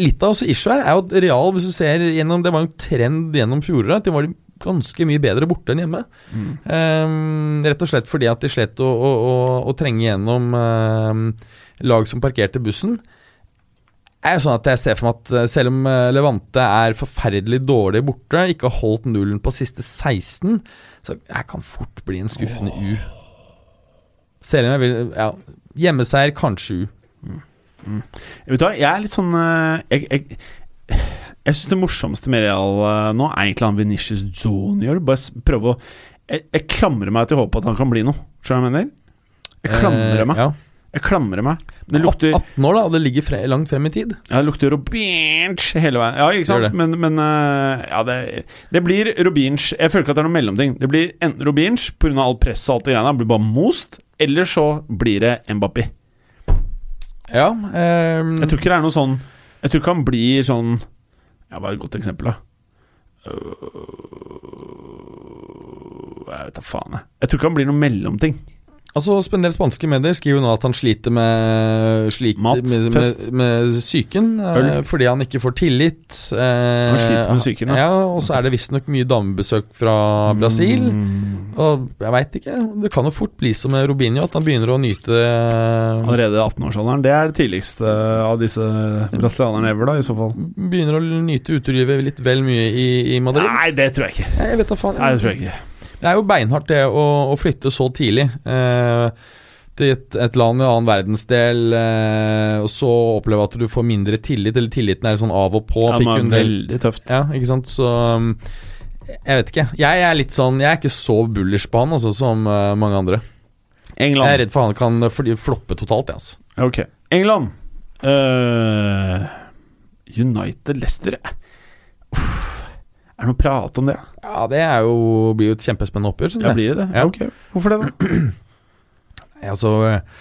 Speaker 2: litt av også issue her er jo at Real, hvis du ser gjennom Det var jo en trend gjennom fjoråret. at De var ganske mye bedre borte enn hjemme. Eh, rett og slett fordi at de slet å, å, å, å trenge gjennom eh, lag som parkerte bussen. Det er jo sånn at jeg ser for meg at eh, Selv om eh, Levante er forferdelig dårlig borte, ikke har holdt nullen på siste 16, så jeg kan fort bli en skuffende U. Selv om jeg vil ja, Hjemmeseier, kanskje U.
Speaker 3: Vet du hva, jeg er litt sånn eh, Jeg, jeg, jeg syns det morsomste med Real eh, nå er egentlig han Venitius Junior. Bare s- prøve å jeg, jeg klamrer meg til håpet at han kan bli noe. Skjønner du hva jeg mener? Jeg klamrer
Speaker 2: Eh,
Speaker 3: meg.
Speaker 2: Ja.
Speaker 3: Jeg klamrer meg. Det lukter,
Speaker 2: 18 år, da, og det ligger fre langt frem i tid.
Speaker 3: ja, det lukter Robinch hele veien. Ja, ikke
Speaker 2: Gjør det.
Speaker 3: sant? Men, men eh, ja, det, det blir Robinch. Jeg føler ikke at det er noen mellomting. Det blir enten Robinch pga. all presset og alt det greiene, han blir bare most, eller så blir det Mbappé.
Speaker 2: Ja, ehm,
Speaker 3: Jeg tror ikke det er noe sånn Jeg tror ikke han blir sånn Ja, bare et godt eksempel da Øh, Jeg vet da faen jeg Jeg tror ikke han blir noe mellomting
Speaker 2: altså sp- En del spanske medier skriver jo nå at han sliter med, sliter
Speaker 3: Mat,
Speaker 2: med, med,
Speaker 3: fest.
Speaker 2: med psyken. eh,
Speaker 3: Øl.
Speaker 2: fordi han ikke får tillit. eh,
Speaker 3: Han sliter med psyken, ja. Mm.
Speaker 2: ja. Og så er det visstnok mye damebesøk fra Brasil. Og jeg veit ikke. Det kan jo fort bli som med Robinho, at han begynner å nyte eh,
Speaker 3: Allerede i 18-årsalderen Det er det tidligste av disse brasilianerne ever da I så fall
Speaker 2: Begynner å nyte utelivet litt vel mye i, i Madrid.
Speaker 3: Nei, det tror jeg ikke
Speaker 2: Nei, Jeg vet da faen.
Speaker 3: Nei, det tror jeg ikke
Speaker 2: Det er jo beinhardt det å, å flytte så tidlig. Eh, til et, et land i en annen verdensdel, eh, og så oppleve at du får mindre tillit, eller tilliten er sånn av og på.
Speaker 3: Ja,
Speaker 2: fikk
Speaker 3: men
Speaker 2: hun del-
Speaker 3: veldig tøft
Speaker 2: Ja, ikke sant? Så um, jeg vet ikke. Jeg er litt sånn Jeg er ikke så bullish på han altså, som eh, mange andre. Jeg er
Speaker 3: England
Speaker 2: redd for han kan fly- floppe totalt. Jeg, altså.
Speaker 3: Ok England Øh, United Leicester Uff. Er det noe prat om det?
Speaker 2: Ja, Det er jo, blir jo et kjempespennende oppgjør, syns
Speaker 3: Ja,
Speaker 2: jeg.
Speaker 3: blir det det?
Speaker 2: Ja.
Speaker 3: Ok, hvorfor det da?
Speaker 2: Ja, så eh,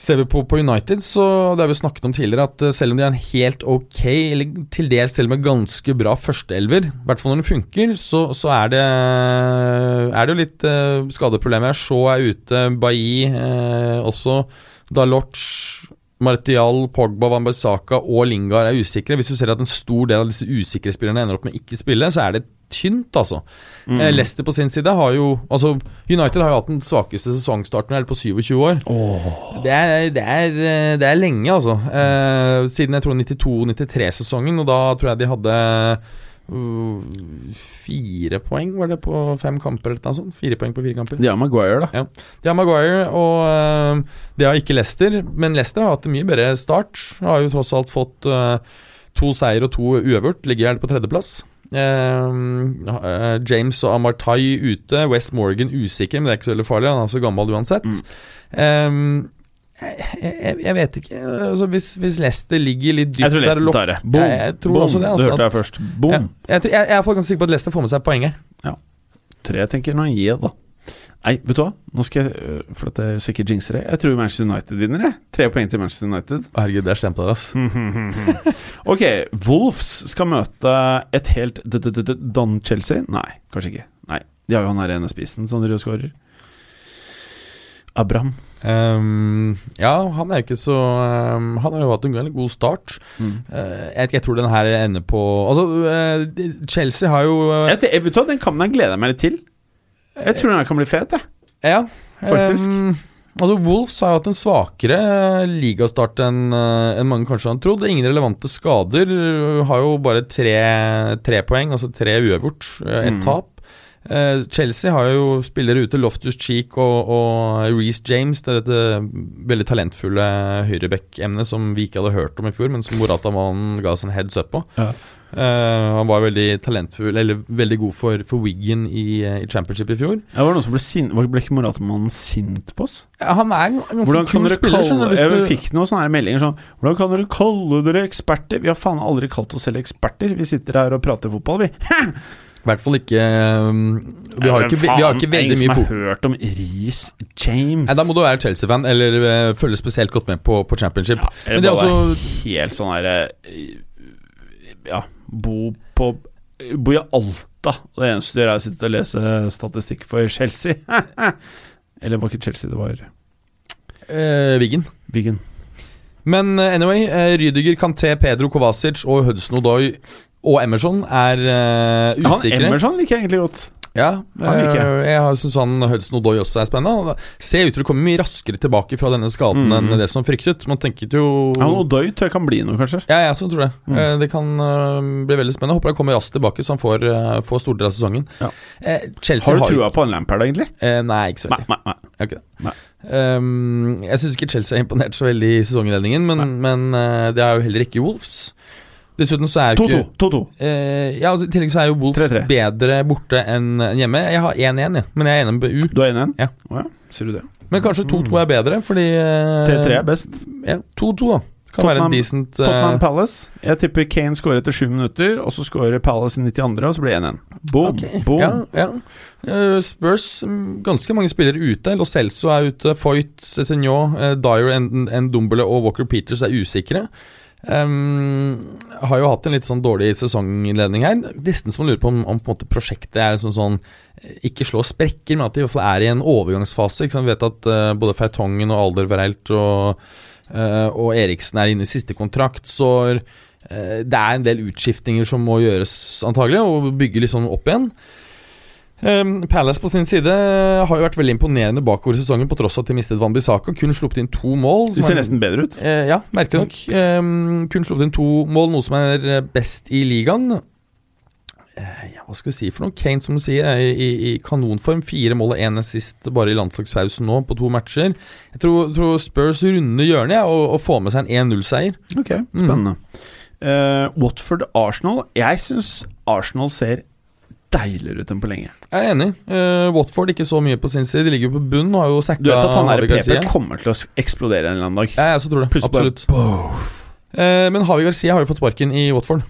Speaker 2: Ser vi på, på United, så det har vi snakket om tidligere, at eh, selv om de er en helt ok, eller til dels selv med ganske bra førsteelver, i hvert fall når den funker, så, så er, det, er det jo litt eh, skadeproblemer her. Shaw er ute, Bailly eh, også, Dalot, Martial, Pogba, Wambasaka og Lingard er usikre. Hvis du ser at en stor del av disse usikre spillerne ender opp med ikke spille, så er det tynt, altså.
Speaker 3: Mm.
Speaker 2: Eh, Leicester på sin side har jo Altså, United har jo hatt den svakeste sesongstarten her på 27 år. Det er, det er, eh, det er lenge, altså. Eh, siden jeg tror 92-93-sesongen, og da tror jeg de hadde uh, fire poeng, var det, på fem kamper eller noe sånt? Fire poeng på fire kamper.
Speaker 3: De har Maguire, da.
Speaker 2: De har Maguire, og eh, de har ikke Leicester. Men Leicester har hatt en mye bedre start. Har jo tross alt fått eh, to seier og to uavgjort. Ligger gjerne på tredjeplass. Eh, eh, James og Amartay ute. West Morgan usikker, men det er ikke så veldig farlig. Han er så gammel uansett.
Speaker 3: Mm.
Speaker 2: Eh, jeg, jeg, jeg vet ikke. Altså, hvis, hvis Leicester ligger litt dypt
Speaker 3: Jeg tror Leicester tar det. Boom!
Speaker 2: Ja, jeg tror
Speaker 3: Boom.
Speaker 2: også det, altså,
Speaker 3: hørte jeg
Speaker 2: at-
Speaker 3: først. Boom!
Speaker 2: Ja, jeg, tror- jeg, jeg er i hvert fall ganske sikker på at Leicester får med seg poeng her.
Speaker 3: Tre tenker nå gir jeg, da. Nei, vet du hva? Nå skal jeg øh, For at jeg så ikke jinxer det. Jeg tror Manchester United vinner, jeg. Tre poeng til Manchester United.
Speaker 2: Herregud, det er stemt av deg, ass.
Speaker 3: ok, Wolves skal møte et helt d- d- d- d- Don Chelsea? Nei, kanskje ikke. Nei, De har jo han her ene spissen som driver og skårer. Abraham.
Speaker 2: Ehm, ja, han er jo ikke så ehm, Han har jo hatt en veldig god start.
Speaker 3: Mm.
Speaker 2: Eh, jeg, jeg tror den her ender på Altså, eh, de- Chelsea har jo eh,
Speaker 3: Jeg, jeg, vet du hva, Den kampen her gleder jeg meg litt til. Jeg tror den her kan bli fet, jeg.
Speaker 2: Ja,
Speaker 3: faktisk.
Speaker 2: ehm, altså, Wolves har jo hatt en svakere eh, ligastart enn eh, enn mange kanskje har trodd. Ingen relevante skader. eh, Har jo bare tre, tre poeng, altså tre uavgjort, eh, ett
Speaker 3: Mm.
Speaker 2: tap. Eh, Chelsea har jo spillere ute, Loftus Cheek og, og Reece James. Det er dette veldig talentfulle høyreback-emnet som vi ikke hadde hørt om i fjor, men som Morata-mannen ga oss en heads up på.
Speaker 3: Ja.
Speaker 2: Eh, han var veldig talentfull, eller veldig god for, for Wiggen i, eh, i championship i fjor.
Speaker 3: Det var noen som ble sint Var- Ble ikke Moratmannen sint på oss?
Speaker 2: Ja, Han er en ganske
Speaker 3: Hvordan kan
Speaker 2: kul
Speaker 3: dere
Speaker 2: spiller,
Speaker 3: kalle
Speaker 2: skjønner du.
Speaker 3: Jeg
Speaker 2: Hvis du
Speaker 3: fikk noen sånne her meldinger sånn Hvordan kan dere kalle dere eksperter? Vi har faen aldri kalt oss selv eksperter. Vi sitter her og prater fotball, vi.
Speaker 2: I hvert fall ikke um, Vi har ikke, vi har ikke veldig mye
Speaker 3: fokus. Ingen
Speaker 2: fokus.
Speaker 3: som har hørt om Reece James.
Speaker 2: Nei, da må du være Chelsea-fan, eller eh, følge spesielt godt med på, på championship.
Speaker 3: ja,
Speaker 2: Men det er altså- også
Speaker 3: helt sånn her eh, Ja, bo på Bo i Alta. Og Det eneste du gjør, er å sitte og lese statistikk for Chelsea. Eller det var ikke Chelsea, det var
Speaker 2: eh, Wiggen.
Speaker 3: Wiggen.
Speaker 2: Men eh, anyway, eh, Rydiger, Kanté, Pedro Kovacic og Hudson Odoi og Emerson er eh,
Speaker 3: Ja, Han
Speaker 2: usikre.
Speaker 3: Emerson liker jeg egentlig godt.
Speaker 2: Ja,
Speaker 3: Han liker jeg.
Speaker 2: eh, jeg syns han Hudson Odoi også er spennende. Han Ser ut til å komme mye raskere tilbake fra denne skaden
Speaker 3: Mm.
Speaker 2: enn det som fryktet. Man tenket jo
Speaker 3: Ja, og Døy tør kan bli noe, kanskje.
Speaker 2: Ja, jeg også tror det.
Speaker 3: Mm.
Speaker 2: Eh, Det kan eh, bli veldig spennende. Håper han kommer raskt tilbake, så han får, eh, får store deler av sesongen.
Speaker 3: Ja.
Speaker 2: Eh, Chelsea
Speaker 3: Har du
Speaker 2: har
Speaker 3: trua på han Lampard, egentlig?
Speaker 2: Eh, nei, ikke så veldig.
Speaker 3: nei, nei.
Speaker 2: Jeg har ikke det.
Speaker 3: Nei.
Speaker 2: Ehm, jeg syns ikke Chelsea har imponert så veldig i sesonginnledningen, men, men eh, det er jo heller ikke Wolves. Dessuten så er jo
Speaker 3: 2-2.
Speaker 2: ikke
Speaker 3: 2-2.
Speaker 2: Eh, ja, altså, I tillegg så er jo Wolves
Speaker 3: 3-3.
Speaker 2: bedre borte enn enn hjemme. Jeg har 1-1, jeg, men jeg er enig med BU.
Speaker 3: Du er enig i den?
Speaker 2: Ja.
Speaker 3: Å ja, sier du det.
Speaker 2: Men kanskje 2-2 er bedre, fordi eh,
Speaker 3: 3-3 Mm. er best.
Speaker 2: Ja, 2-2 da. kan være
Speaker 3: Tottenham-
Speaker 2: en decent eh,
Speaker 3: Tottenham Palace. Jeg tipper Kane scorer etter 7 minutter, og så scorer Palace i 92., og så blir det 1-1. Boom,
Speaker 2: Ok,
Speaker 3: boom.
Speaker 2: Ja, ja. Eh, Spurs, mm, ganske mange spillere ute. Lo Celso er ute. Foyt, Cézinho, Dyer, Ndombele og Walker Peters er usikre. Ehm, har jo hatt en litt sånn dårlig sesonginnledning her. Nesten som man lurer på om, om på en måte prosjektet er sånn sånn eh, Ikke slå sprekker, men at de i hvert fall er i en overgangsfase. Ikke sant? Vi vet at eh, både Fertongen og Alder Verelt og, eh, og Eriksen er inne i siste kontrakt, så Eh, Det er en del utskiftninger som må gjøres, antagelig, og bygge litt sånn opp igjen. Ehm, Palace på sin side har jo vært veldig imponerende bakover i sesongen, på tross av at de mistet Van Bissaka. Kun sluppet inn to mål.
Speaker 3: De
Speaker 2: som
Speaker 3: ser
Speaker 2: er-
Speaker 3: nesten bedre ut.
Speaker 2: Eh, ja, merkelig nok. Ehm, kun sluppet inn to mål, noe som er eh, best i ligaen. Eh, ja, hva skal vi si for noe? Kane, som du sier, er i, i, i kanonform. Fire mål og én assist bare i landslagspausen nå, på to matcher. Jeg tror, tror Spurs runder hjørnet ja, og, og får med seg en 1-0-seier.
Speaker 3: Ok, Spennende. Mm. Eh, Watford-Arsenal. Jeg syns Arsenal ser deiligere ut enn på lenge.
Speaker 2: Jeg er enig. Eh, Watford ikke så mye på sin side. De ligger jo på bunn og har jo sacka
Speaker 3: Du vet at han der
Speaker 2: Javi Garcia.
Speaker 3: PP kommer til å s- eksplodere en eller annen dag.
Speaker 2: Ja, jeg også tror det.
Speaker 3: Plutselig
Speaker 2: Absolutt. Eh, men Havi Garcia har jo fått sparken i Watford.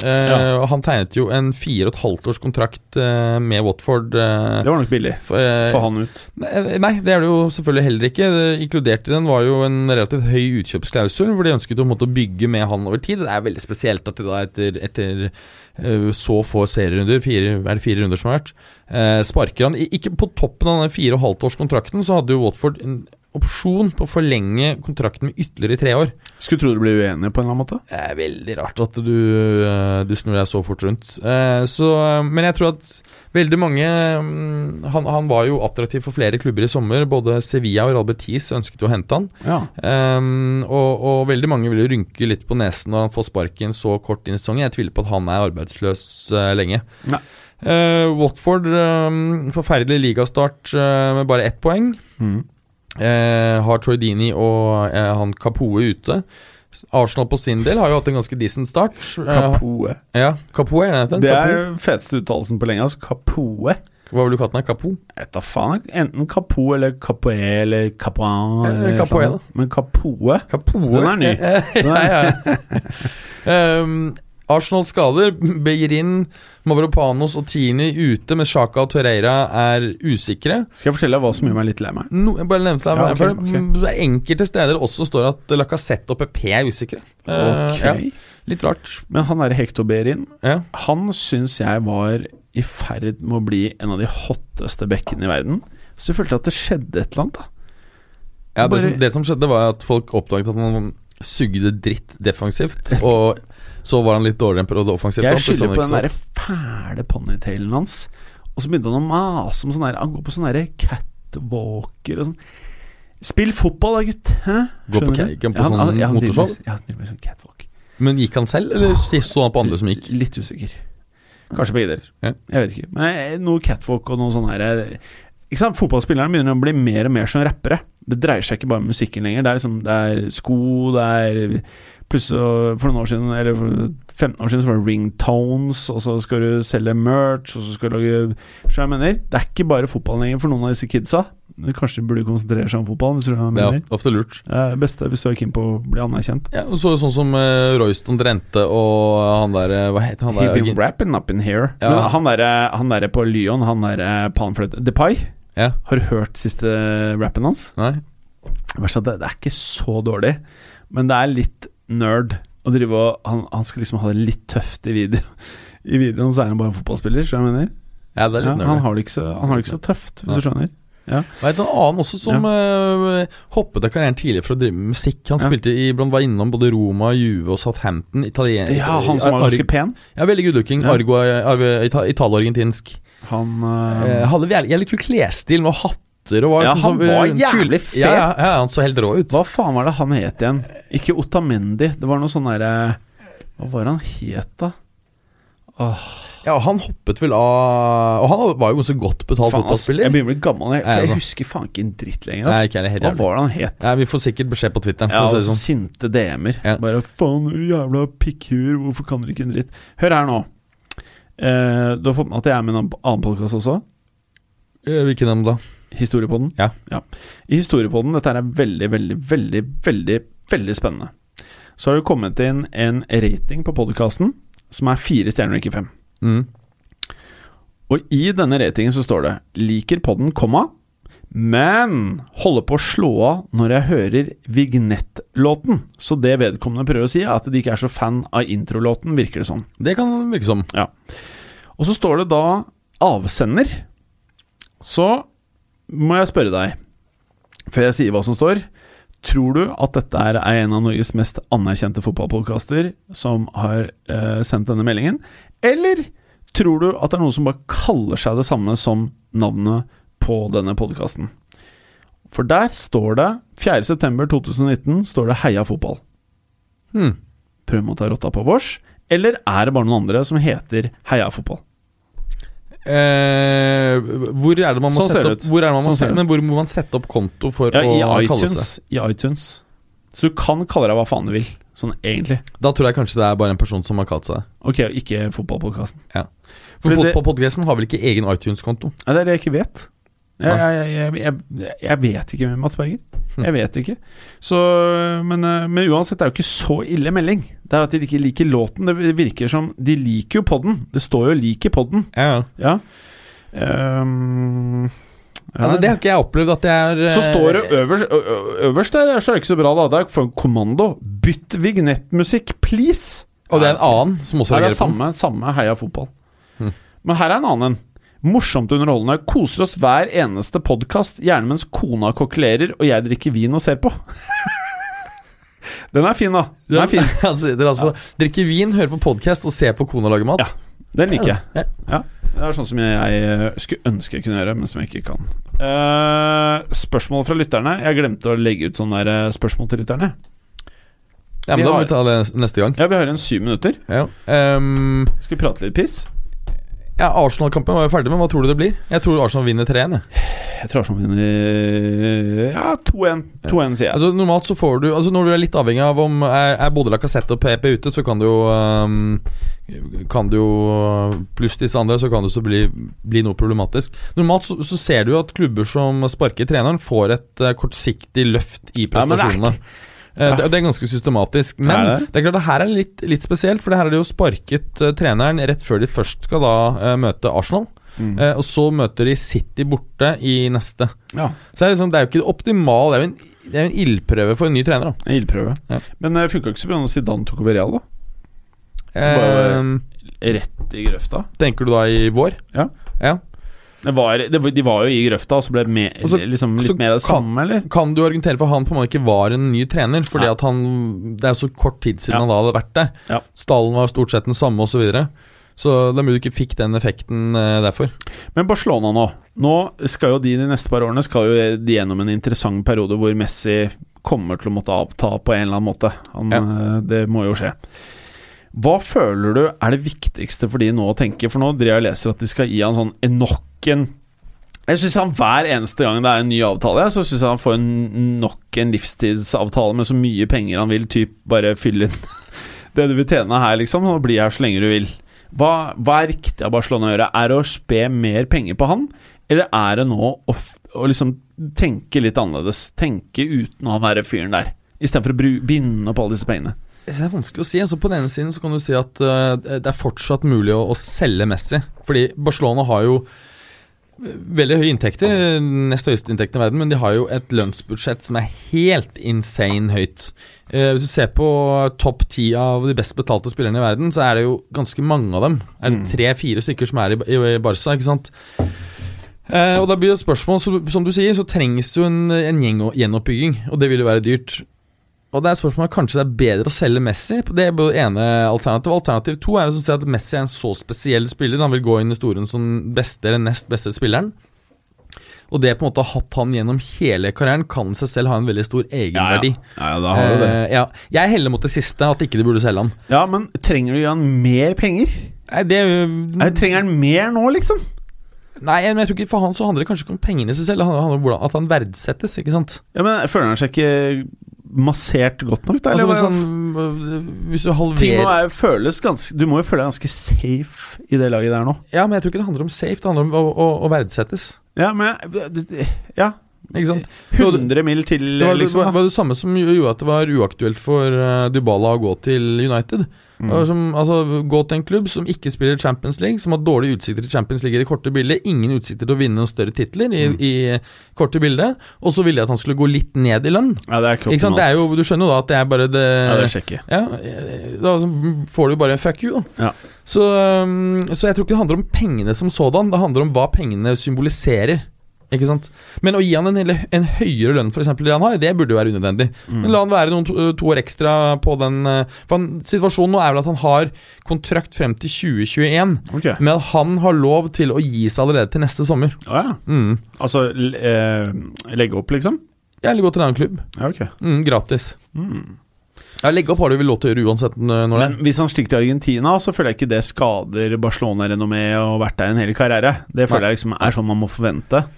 Speaker 2: Eh,
Speaker 3: Ja.
Speaker 2: og Han tegnet jo en fire og et halvt års kontrakt eh, med Watford. eh,
Speaker 3: Det var nok billig.
Speaker 2: for, eh,
Speaker 3: Få han ut.
Speaker 2: Nei, nei, det er det jo selvfølgelig heller ikke. Det- Inkludert i den var jo en relativt høy utkjøpsklausul, hvor de ønsket å måtte bygge med han over tid. Det er veldig spesielt at de da etter, etter eh, så få serierunder, fire, er det fire runder som har vært, eh, sparker han. I- Ikke på toppen av den fire og et halvt års kontrakten, så hadde jo Watford en opsjon på å forlenge kontrakten med ytterligere tre år.
Speaker 3: Skulle tro du ble uenig på en eller annen måte.
Speaker 2: Det er veldig rart at du, eh, du snur deg så fort rundt. Eh, Så, eh, men jeg tror at veldig mange mm, han, han var jo attraktiv for flere klubber i sommer. Både Sevilla og Real Betis ønsket jo å hente han.
Speaker 3: Ja.
Speaker 2: Ehm, og, og veldig mange vil jo rynke litt på nesen når han får sparken så kort inn i sesongen. Jeg tviler på at han er arbeidsløs eh, lenge.
Speaker 3: Nei.
Speaker 2: Eh, Watford, eh, forferdelig ligastart eh, med bare ett poeng.
Speaker 3: Mm.
Speaker 2: Eh, har Troy Dini og eh, han Kapoe ute. Arsenal på sin del har jo hatt en ganske decent start. Eh,
Speaker 3: Kapoe.
Speaker 2: ja, Kapoe, er det den?
Speaker 3: Det
Speaker 2: Kapoe?
Speaker 3: er feteste uttalelsen på lenge. Altså Kapoe.
Speaker 2: Hva vil du kalle den? Kapo?
Speaker 3: Jeg vet da faen. jeg. Enten Kapoe eller Kapoe eller Kapoe.
Speaker 2: Eh,
Speaker 3: eller
Speaker 2: Kapoe,
Speaker 3: faen. Men Kapoe
Speaker 2: Kapoe?
Speaker 3: Den er ny. Den
Speaker 2: ja,
Speaker 3: er,
Speaker 2: ja. Ehm, Arsenal skader. Beirin, Mavropanos og Tierney ute, men Sjaka og Torreira er usikre.
Speaker 3: skal jeg fortelle deg hva som gjør meg litt lei meg?
Speaker 2: No, jeg bare nevnte det,
Speaker 3: Ja,
Speaker 2: her,
Speaker 3: ok,
Speaker 2: for
Speaker 3: ok.
Speaker 2: det er enkelte steder også står at Lacassette og PP er usikre. Eh,
Speaker 3: Ok.
Speaker 2: ja, litt rart.
Speaker 3: Men han der Hector Behrin,
Speaker 2: Ja.
Speaker 3: han syns jeg var i ferd med å bli en av de hotteste bekkene i verden. Så jeg følte at det skjedde et eller annet, da.
Speaker 2: Ja, det,
Speaker 3: Bare-
Speaker 2: som, det som skjedde var at folk oppdaget at han sugde dritt defensivt, og så var han litt dårligere enn periode offensivt. da,
Speaker 3: Jeg
Speaker 2: plutselig
Speaker 3: skylder på den
Speaker 2: han ikke
Speaker 3: derre fæle ponytailen hans. Og så begynte han å mase om sånn der Han går på sånn derre catwalker og sånn. Spill fotball da, gutt! Hæ?
Speaker 2: Går på
Speaker 3: Skjønner du?
Speaker 2: ca- på
Speaker 3: Ja, han-
Speaker 2: sånn
Speaker 3: ja, han driver med-
Speaker 2: motoshow?
Speaker 3: Ja, han driver med sånn catwalk.
Speaker 2: så- Men gikk han selv, eller så han på andre som gikk?
Speaker 3: Litt usikker. Kanskje begge deler.
Speaker 2: Ja.
Speaker 3: Jeg vet ikke. Men eh, noe catwalk og noe sånn her eh, Ikke sant, Fotballspillerne begynner å bli mer og mer som rappere. Det dreier seg ikke bare om musikken lenger. Det er liksom Det er sko, det er Plutselig for noen år siden, eller for 15 år siden, så var det ringtones, og så skal du selge merch, og så skal du lage Så jeg mener, det er ikke bare fotballen lenger for noen av disse kidsa. Kanskje de burde konsentrere seg om fotballen, hvis du skjønner hva
Speaker 2: Det
Speaker 3: jeg
Speaker 2: er
Speaker 3: mener.
Speaker 2: of- ofte lurt.
Speaker 3: Det er det beste hvis du er keen på å bli anerkjent.
Speaker 2: Ja, og så sånn som eh, Royston Drente og han der eh, Hva heter han
Speaker 3: He
Speaker 2: der?
Speaker 3: been wrapping up in here.
Speaker 2: Ja.
Speaker 3: Men han derre han der på Lyon, han derre panfløyte Depay,
Speaker 2: Ja.
Speaker 3: har du hørt siste rappen hans?
Speaker 2: Nei?
Speaker 3: Verst at det, det er ikke så dårlig, men det er litt nerd å drive og han, han skal liksom ha det litt tøft i video. I videoen så er han bare en fotballspiller, skjønner du hva jeg mener?
Speaker 2: Ja, det
Speaker 3: Ja,
Speaker 2: er litt
Speaker 3: han
Speaker 2: nerdy.
Speaker 3: har det ikke så, han har det ikke så tøft, hvis
Speaker 2: Nei.
Speaker 3: du skjønner.
Speaker 2: Veit du en annen også som eh, hoppet av karrieren tidligere for å drive med musikk? Han
Speaker 3: Ja.
Speaker 2: spilte i, blant var innom både Roma, Juve og Southampton. Italien,
Speaker 3: Ja, han som var ganske pen.
Speaker 2: Ja, veldig good looking.
Speaker 3: Ja.
Speaker 2: Argo, arve- ita- Italo-argentinsk.
Speaker 3: Han eh,
Speaker 2: Eh, hadde jævlig, jævlig kul klesstil med hatter og var
Speaker 3: Ja,
Speaker 2: sånn
Speaker 3: han
Speaker 2: som,
Speaker 3: var
Speaker 2: eh,
Speaker 3: jævlig
Speaker 2: kul- Ja, ja,
Speaker 3: fet.
Speaker 2: ja, han så helt rå ut.
Speaker 3: Hva faen var det han het igjen? Ikke Otamendi, det var noe sånn derre Hva var det han het, da?
Speaker 2: Ja, han hoppet vel av Og han var jo ganske godt betalt
Speaker 3: Faen, ass, jeg
Speaker 2: fotballspiller.
Speaker 3: begynner å bli gammel, jeg,
Speaker 2: Ja,
Speaker 3: for jeg
Speaker 2: altså.
Speaker 3: husker faen ikke en dritt lenger.
Speaker 2: Nei,
Speaker 3: Ass.
Speaker 2: ikke jeg helt
Speaker 3: Hva
Speaker 2: jævlig.
Speaker 3: var det han het?
Speaker 2: Nei, vi får sikkert beskjed på
Speaker 3: Ja,
Speaker 2: Twitter. For å si
Speaker 3: altså,
Speaker 2: det sånn.
Speaker 3: sinte DM-er.
Speaker 2: Ja.
Speaker 3: Bare 'faen, du jævla pikkhuer, hvorfor kan dere ikke en dritt?' Hør her nå. Eh, du har fått med at jeg er med i en annen podkast også.
Speaker 2: Eh, Hvilken av dem da?
Speaker 3: Historiepodden.
Speaker 2: Ja.
Speaker 3: I Historiepodden, dette her er veldig, veldig, veldig, veldig veldig spennende. Så har det kommet inn en rating på podkasten som er fire stjerner, ikke fem.
Speaker 2: Mm.
Speaker 3: Og i denne ratingen så står det 'Liker podden, komma, men holder på å slå av når jeg hører vignettlåten'. Så det vedkommende prøver å si, er at de ikke er så fan av introlåten, virker det som.
Speaker 2: Det kan virke som.
Speaker 3: Og så står det da 'avsender'. Så må jeg spørre deg, før jeg sier hva som står Tror du at dette er en av Norges mest anerkjente fotballpodkaster som har eh, sendt denne meldingen? Eller tror du at det er noen som bare kaller seg det samme som navnet på denne podkasten? For der står det 4.9.2019 står det 'Heia fotball'
Speaker 2: Hmm.
Speaker 3: prøve med å ta rotta på vårs? Eller er det bare noen andre som heter Heia fotball?
Speaker 2: Eh, hvor er det man må
Speaker 3: Sånn ser
Speaker 2: sette
Speaker 3: det
Speaker 2: opp
Speaker 3: ut.
Speaker 2: hvor er det man må
Speaker 3: Sånn ser
Speaker 2: sette,
Speaker 3: det
Speaker 2: Men hvor må man sette opp konto for
Speaker 3: Ja,
Speaker 2: å
Speaker 3: i
Speaker 2: kalle seg
Speaker 3: iTunes. I iTunes. Så du kan kalle deg hva faen du vil, sånn egentlig.
Speaker 2: Da tror jeg kanskje det er bare en person som har kalt seg det.
Speaker 3: Ok, og ikke fotballpodkasten.
Speaker 2: For
Speaker 3: Fordi det-
Speaker 2: Fotballpodcasten har vel ikke egen iTunes-konto?
Speaker 3: Nei, det er det jeg ikke vet. Jeg,
Speaker 2: Nei.
Speaker 3: jeg, jeg, jeg, jeg vet ikke, Mats Berger. Jeg vet ikke. Så, men, eh, men uansett, det er jo ikke så ille melding. Det er at de ikke liker låten. Det virker som De liker jo podden. Det står jo 'liker podden'.
Speaker 2: Ja, ja.
Speaker 3: Ja. Ehm, ja.
Speaker 2: Altså, det har ikke jeg opplevd at jeg er eh,
Speaker 3: Så står det øverst, ø- ø- øverst der, så er det ikke så bra, da. Det er for en kommando. Bytt vignettmusikk, please!
Speaker 2: Og det er en annen som
Speaker 3: Her
Speaker 2: også
Speaker 3: er
Speaker 2: reagerer på den.
Speaker 3: samme, samme heia fotball.
Speaker 2: Hm.
Speaker 3: Men her er en annen en. Morsomt underholdende. Koser oss hver eneste podkast, gjerne mens kona kokkelerer og jeg drikker vin og ser på. Den er fin, da. Den er fin.
Speaker 2: Han sitter altså Drikker vin, hører på podkast og ser på kona lage mat.
Speaker 3: Ja. Den liker jeg.
Speaker 2: Ja.
Speaker 3: Ja, Det er sånn som jeg eh, skulle ønske jeg kunne gjøre, men som jeg ikke kan. Eh, spørsmål fra lytterne. Jeg glemte å legge ut sånne der eh, spørsmål til lytterne.
Speaker 2: Ja,
Speaker 3: Vi
Speaker 2: men Da må
Speaker 3: har-
Speaker 2: vi ta det neste gang.
Speaker 3: Ja, vi har igjen syv minutter.
Speaker 2: Ja. Ehm,
Speaker 3: Skal vi prate litt piss?
Speaker 2: ja, Arsenal-kampen var jo ferdig, men hva tror du det blir? Jeg tror Arsenal vinner 3-1. jeg.
Speaker 3: Jeg tror Arsenal vinner Ja, 2-1. 2-1, sier jeg.
Speaker 2: Altså, normalt så får du Altså Når du er litt avhengig av om er, er både Lacassette og PP ute, så kan du jo ehm, Kan du jo uh, Pluss disse andre, så kan det så bli, bli noe problematisk. Normalt så, så ser du jo at klubber som sparker treneren, får et eh, kortsiktig løft i
Speaker 3: Ja, men det er
Speaker 2: prestasjonene. Eh, Det, det er ganske systematisk. Men
Speaker 3: Er
Speaker 2: det?
Speaker 3: det?
Speaker 2: er klart det her er litt, litt spesielt, for det her er det jo sparket eh, treneren rett før de først skal da eh, møte Arsenal.
Speaker 3: Mm.
Speaker 2: Eh, og så møter de City borte i neste.
Speaker 3: Ja,
Speaker 2: Så det er, liksom, det er jo ikke optimal, det er jo en, det er jo en ildprøve for en ny trener. Da.
Speaker 3: en ildprøve.
Speaker 2: Ja.
Speaker 3: Men det funka ikke så bra når Zidane tok over Real, da. Bare-
Speaker 2: Eh,
Speaker 3: Rett i grøfta.
Speaker 2: tenker du da i vår?
Speaker 3: Ja. Det var, det, var- de var jo i grøfta, og så ble det mer,
Speaker 2: Og så-
Speaker 3: liksom litt
Speaker 2: så
Speaker 3: mer av det
Speaker 2: kan-
Speaker 3: samme, eller?
Speaker 2: Kan du argumentere for han på en måte ikke var en ny trener? Fordi
Speaker 3: Nei.
Speaker 2: at han Det er jo så kort tid siden
Speaker 3: Ja.
Speaker 2: han da hadde vært der.
Speaker 3: Ja.
Speaker 2: Stallen var stort sett den samme, osv. Så, videre. så det er mulig du ikke fikk den effekten eh, derfor.
Speaker 3: Men Barcelona nå Nå skal jo de de neste par årene Skal jo de gjennom en interessant periode hvor Messi kommer til å måtte avta på en eller annen måte. Han, eh, Det må jo skje. Hva føler du er det viktigste for de nå å tenke? For nå driver jeg og leser at de skal gi han sånn en- nok en Jeg syns han hver eneste gang det er en ny avtale, jeg, så syns jeg han får en, nok en livstidsavtale med så mye penger han vil, typ bare fylle inn det du vil tjene her, liksom, og bli her så lenge du vil. Hva, hva er riktig av Barcelona å gjøre? Er det å spe mer penger på han, eller er det nå å, f- å liksom tenke litt annerledes? Tenke uten han derre fyren der, istedenfor å bru, binde opp alle disse pengene.
Speaker 2: Jeg synes Det er vanskelig å si. Altså, på den ene siden så kan du si at eh, det er fortsatt mulig å, å selge Messi. Fordi Barcelona har jo eh, veldig høye inntekter, eh, nest høyeste inntekten i verden, men de har jo et lønnsbudsjett som er helt insane høyt. Eh, hvis du ser på topp ti av de best betalte spillerne i verden, så er det jo ganske mange av dem. Er det
Speaker 3: Mm.
Speaker 2: tre-fire stykker som er i, i, i Barca, ikke sant? Eh, og da blir det spørsmål, så, som du sier, så trengs det jo en, en gjeng, gjenoppbygging, og det vil jo være dyrt. Og det er spørsmålet kanskje det er bedre å selge Messi. Det er både ene alternativet. Alternativ to er å si at Messi er en så spesiell spiller. Han vil gå inn i historien som beste eller nest beste spilleren. Og det på en måte å ha hatt han gjennom hele karrieren kan i seg selv ha en veldig stor egenverdi.
Speaker 3: ja, da har du det.
Speaker 2: Eh, ja. Jeg heller mot det siste, at ikke de burde selge han.
Speaker 3: Ja, men trenger du å gi han mer penger?
Speaker 2: Nei, det,
Speaker 3: Nei, trenger han mer nå, liksom?
Speaker 2: nei, men jeg tror ikke for han så handler det kanskje ikke om pengene i seg selv, det handler om hvordan, at han verdsettes, ikke sant.
Speaker 3: Ja, men Føler han seg ikke massert godt nok, da?
Speaker 2: Altså,
Speaker 3: eller
Speaker 2: hvis,
Speaker 3: hva-
Speaker 2: han, hvis du
Speaker 3: Ting nå
Speaker 2: halverer
Speaker 3: er, føles ganske Du må jo føle deg ganske safe i det laget der nå.
Speaker 2: Ja, men jeg tror ikke det handler om safe, det handler om å, å, å verdsettes.
Speaker 3: Ja, men jeg- du- du- Ja.
Speaker 2: Ikke sant?
Speaker 3: 100 mil til,
Speaker 2: Det var, det,
Speaker 3: liksom.
Speaker 2: var,
Speaker 3: Da.
Speaker 2: var det samme som gjo- gjorde at det var uaktuelt for eh, Dybala å gå til United.
Speaker 3: Mm.
Speaker 2: Det var Som, altså, gå til en klubb som ikke spiller Champions League, som har dårlige utsikter til Champions League i det korte bildet, ingen utsikter til å vinne noen større titler
Speaker 3: Mm.
Speaker 2: i, i korte bildet, og så ville jeg at han skulle gå litt ned i lønn.
Speaker 3: Ja, det er ikke
Speaker 2: Ikke sant? Det er jo, du skjønner jo da at det er bare det
Speaker 3: ja, det er kjekke.
Speaker 2: ja, eh, da så får du bare en fuck you, da.
Speaker 3: Ja.
Speaker 2: Så, um, så jeg tror ikke det handler om pengene som sådan, det handler om hva pengene symboliserer. Ikke sant? Men å gi han en, hele- en høyere lønn for eksempel, det han har, det burde jo være unødvendig.
Speaker 3: Mm.
Speaker 2: Men la han være noen to, to år ekstra på den eh, For han, Situasjonen nå er vel at han har kontrakt frem til 2021,
Speaker 3: Ok.
Speaker 2: men at han har lov til å gi seg allerede til neste sommer.
Speaker 3: Å ja.
Speaker 2: Mm.
Speaker 3: Altså l- eh, legge opp, liksom?
Speaker 2: Eller gå til en annen klubb.
Speaker 3: Ja, ok.
Speaker 2: Mm, gratis.
Speaker 3: Mm.
Speaker 2: Ja, Legge opp har du vel lov til å gjøre uansett eh, når det er.
Speaker 3: Men hvis han stikker til Argentina, så føler jeg ikke det skader Barcelona-renommé og vært der en hel karriere. Det føler
Speaker 2: Nei.
Speaker 3: jeg liksom er sånn man må forvente.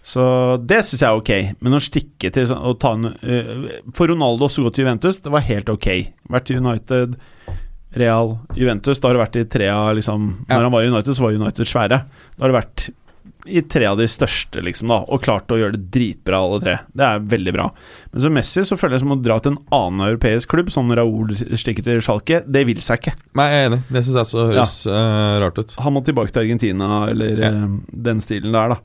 Speaker 3: Så det syns jeg er ok. Men å stikke til sånn- å ta en eh, For Ronaldo også gå til Juventus, det var helt ok. Vært i United, Real, Juventus. Da har det vært i tre av liksom
Speaker 2: Ja.
Speaker 3: Når han var i United, så var United svære. Da har det vært i tre av de største, liksom, da, og klart å gjøre det dritbra, alle tre. Det er veldig bra. Men som Messi så føler jeg som å dra til en annen europeisk klubb, sånn Raúl stikker til Schalke. Det vil seg ikke.
Speaker 2: Nei, jeg er enig. Det syns jeg også høres eh, rart ut.
Speaker 3: Han må tilbake til Argentina, eller
Speaker 2: Ja.
Speaker 3: eh, den stilen der, da.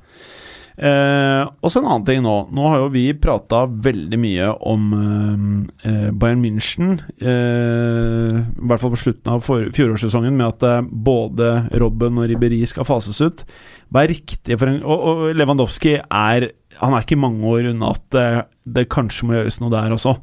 Speaker 3: Eh, og så en annen ting nå. Nå har jo vi prata veldig mye om eh, eh, Bayern München. Eh, I hvert fall på slutten av for fjorårssesongen, med at eh, både Robben og Ribéry skal fases ut. Hva er riktig for en Og, og Lewandowski er Han er ikke mange år unna at eh, det kanskje må gjøres noe der også.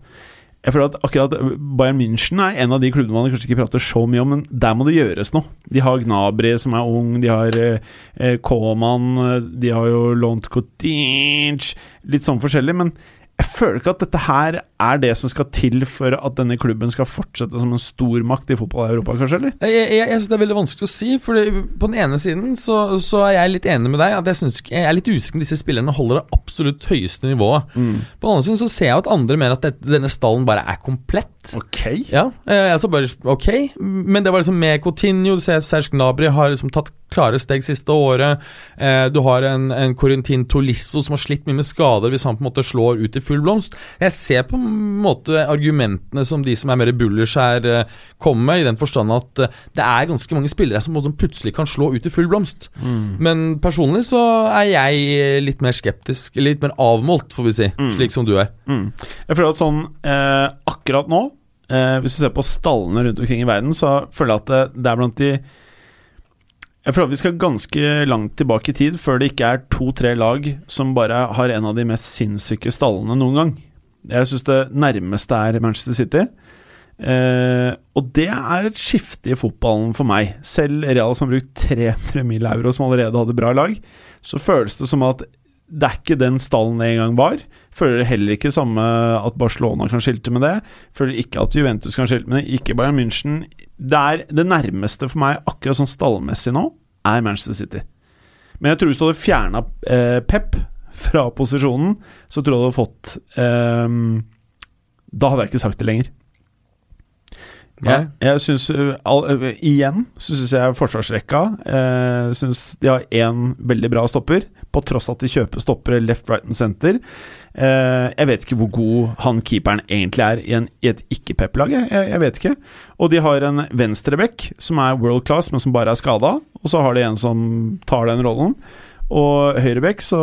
Speaker 3: Jeg føler at akkurat Bayern München er en av de klubbene man kanskje ikke prater så mye om, men der må det gjøres noe. De har Gnabry som er ung, de har eh, Koman, de har jo lånt Kotinch Litt sånn forskjellig, men jeg føler ikke at dette her er det som skal til for at denne klubben skal fortsette som en stormakt i fotball i Europa, kanskje? eller?
Speaker 2: Jeg, jeg, jeg syns det er veldig vanskelig å si. For på den ene siden så, så er jeg litt enig med deg. At jeg, synes, ikke- jeg er litt usikker om disse spillerne holder det absolutt høyeste nivået. På den andre siden så ser jeg jo at andre mener at dette, denne stallen bare er komplett.
Speaker 3: Ok.
Speaker 2: Ja, eh, altså bare ok, men det var liksom med Coutinho, du ser Serge Gnabry har liksom tatt klare steg siste året. Eh, du har en, en Corentin Tolisso som har slitt mye med skader hvis han på en måte slår ut i full blomst. Jeg ser på en måte argumentene som de som er mer bullish her, eh, kommer med, i den forstand at eh, det er ganske mange spillere som, som plutselig kan slå ut i full blomst. Men personlig så er jeg litt mer skeptisk, litt mer avmålt, får vi si, slik som du er.
Speaker 3: Mm. Jeg føler at sånn eh, akkurat nå, eh, hvis du ser på stallene rundt omkring i verden, så føler jeg at eh, det, det er blant de Jeg føler at vi skal ganske langt tilbake i tid før det ikke er to-tre lag som bare har en av de mest sinnssyke stallene noen gang. Jeg syns det nærmeste er Manchester City. Eh, og det er et skifte i fotballen for meg. Selv Real som har brukt 300 mill. euro, som allerede hadde bra lag, så føles det som at det er ikke den stallen det en gang var. Føler heller ikke samme at Barcelona kan skilte med det. Føler ikke at Juventus kan skilte med det. Ikke Bayern München. Det er det nærmeste for meg, akkurat sånn stallmessig nå, er Manchester City. Men jeg tror hvis du hadde fjerna eh, Pep fra posisjonen, så tror jeg du hadde fått eh, Da hadde jeg ikke sagt det lenger. Jeg, jeg synes, uh, all, uh, Igjen så syns jeg forsvarsrekka uh, synes de har én veldig bra stopper, på tross at de kjøper stoppere left, right and center. Eh, jeg vet ikke hvor god han keeperen egentlig er i, en, i et ikke-Pep-lag. Jeg, jeg vet ikke. Og de har en venstreback som er world class, men som bare er skada. Og så har de en som tar den rollen. Og høyreback, så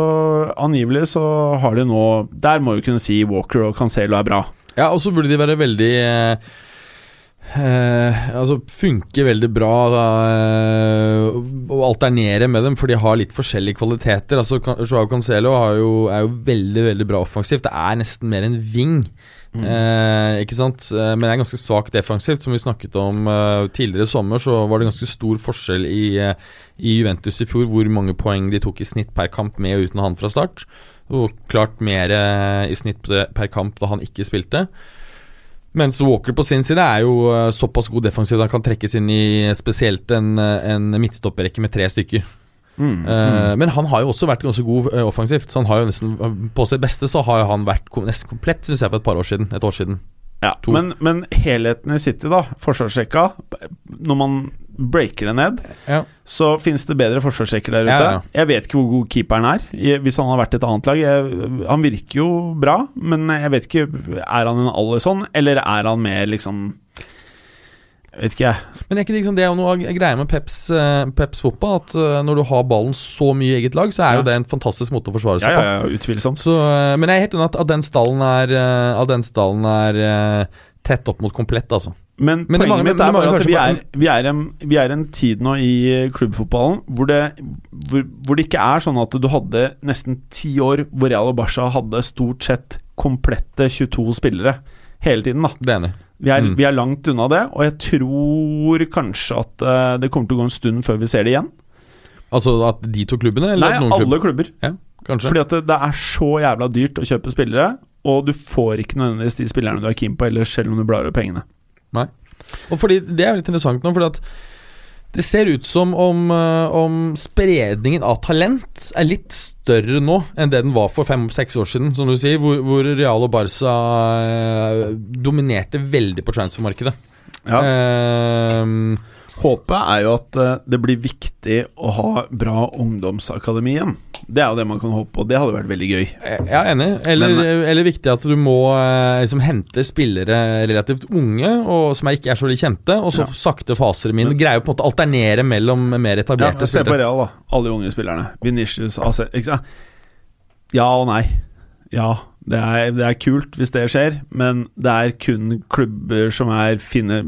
Speaker 3: angivelig så har de nå Der må vi kunne si Walker og Cancelo er bra.
Speaker 2: Ja, og så burde de være veldig eh, eh, Altså funke veldig bra eh, og alternere med dem, for de har litt forskjellige kvaliteter. Altså Can- Joao Cancelo har jo, er jo veldig veldig bra offensivt. Det er nesten mer en ving. Eh, ikke sant? Eh, Men det er ganske svakt defensivt. Som vi snakket om eh, tidligere i sommer, så var det ganske stor forskjell i, eh, i Juventus i fjor hvor mange poeng de tok i snitt per kamp med og uten han fra start. Og klart mer eh, i snitt per kamp da han ikke spilte. Mens Walker på sin side er jo eh, såpass god defensiv at han kan trekkes inn i spesielt en, eh, en midtstopperrekke med tre stykker.
Speaker 3: Mm,
Speaker 2: Eh, Men han har jo også vært ganske god eh, offensivt. Så han har jo nesten eh, På sitt beste så har jo han vært kom- nesten komplett, syns jeg, for et par år siden. Et år siden.
Speaker 3: Ja,
Speaker 2: To.
Speaker 3: men, men helheten i City, da, forsvarsrekka Når man breaker det ned,
Speaker 2: Ja.
Speaker 3: så finnes det bedre forsvarsrekker der ute.
Speaker 2: Ja, ja.
Speaker 3: Jeg vet ikke hvor god keeperen er, i- hvis han har vært i et annet lag. Jeg, han virker jo bra, men jeg vet ikke Er han en Alison, eller er han mer liksom Jeg vet ikke, jeg.
Speaker 2: Men er ikke det, liksom, det er jo noe av greia med Peps, eh, Peps fotball, at eh, når du har ballen så mye i eget lag, så
Speaker 3: Ja.
Speaker 2: er jo det en fantastisk måte å forsvare seg
Speaker 3: Ja,
Speaker 2: på.
Speaker 3: ja, ja, utvilsomt.
Speaker 2: Så, eh, men jeg er helt enig at, at den stallen er, eh, at den stallen er eh, tett opp mot komplett, altså.
Speaker 3: Men,
Speaker 2: Men det
Speaker 3: poenget
Speaker 2: mangler- men
Speaker 3: mitt
Speaker 2: det
Speaker 3: er bare
Speaker 2: mangler
Speaker 3: at vi er,
Speaker 2: kanskje
Speaker 3: vi, er en, vi er en tid nå i klubbfotballen hvor det, hvor, hvor det ikke er sånn at du hadde nesten ti år hvor Real og Barca hadde stort sett komplette 22 spillere hele tiden, da.
Speaker 2: Det er enig.
Speaker 3: Vi er,
Speaker 2: Mm.
Speaker 3: vi er langt unna det, og jeg tror kanskje at eh, det kommer til å gå en stund før vi ser det igjen.
Speaker 2: Altså at de to klubbene, eller
Speaker 3: Nei,
Speaker 2: at noen
Speaker 3: alle
Speaker 2: klubber?
Speaker 3: klubber.
Speaker 2: Ja, kanskje.
Speaker 3: Fordi at det, det er så jævla dyrt å kjøpe spillere, og du får ikke nødvendigvis de spillerne du er keen på, eller selv om du blar opp pengene.
Speaker 2: Og fordi Det er jo litt interessant nå, fordi at det ser ut som om, eh, om spredningen av talent er litt større nå enn det den var for fem-seks år siden, som du sier, hvor, hvor Real og Barca eh, dominerte veldig på transfermarkedet. Eh,
Speaker 3: Håpet er jo at eh, det blir viktig å ha bra ungdomsakademi igjen. Det er jo det man kan håpe på. Det hadde vært veldig gøy.
Speaker 2: Jeg er enig. Eller, eller viktig at du må eh, liksom, hente spillere relativt unge, og som er ikke er så veldig kjente, og så
Speaker 3: Ja.
Speaker 2: sakte faser dem inn. Greier på en måte å alternere mellom mer
Speaker 3: Ja,
Speaker 2: etablerte
Speaker 3: Se på
Speaker 2: spillere.
Speaker 3: Real, da. Alle de unge spillerne. Vinicius AC, ikke sant? Ja og nei. Ja, det er, det er kult hvis det skjer, men det er kun klubber som er fine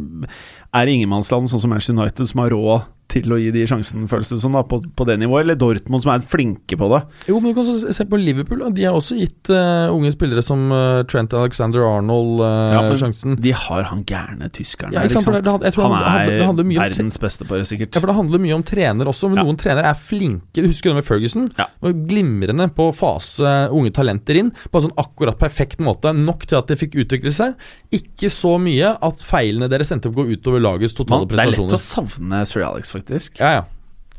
Speaker 3: Er i ingenmannsland, sånn som Manchester United, som har råd til å gi de sjansen, føles det som, da, på, på det nivået, eller Dortmund, som er flinke på det.
Speaker 2: Jo, men du kan også se på Liverpool. Da. De har også gitt eh, unge spillere som eh, Trent Alexander Arnold eh,
Speaker 3: Ja, men-
Speaker 2: sjansen.
Speaker 3: De har han gærne tyskeren
Speaker 2: Ja,
Speaker 3: her, liksom.
Speaker 2: ikke sant, for det- det hadde- jeg tror
Speaker 3: han,
Speaker 2: han- det hadde- det
Speaker 3: er
Speaker 2: handler mye om te-
Speaker 3: verdens beste på det, sikkert.
Speaker 2: Ja, for Det handler mye om trener også, men
Speaker 3: Ja.
Speaker 2: noen trenere er flinke. Du husker det med Ferguson?
Speaker 3: Ja.
Speaker 2: Var glimrende på å fase unge talenter inn på en sånn akkurat perfekt måte. Nok til at de fikk utvikle seg. Ikke så mye at feilene deres endte opp å gå utover lagets
Speaker 3: Man,
Speaker 2: totale
Speaker 3: det er lett å
Speaker 2: prestasjoner.
Speaker 3: savne Sir Alex, faktisk.
Speaker 2: Ja, ja.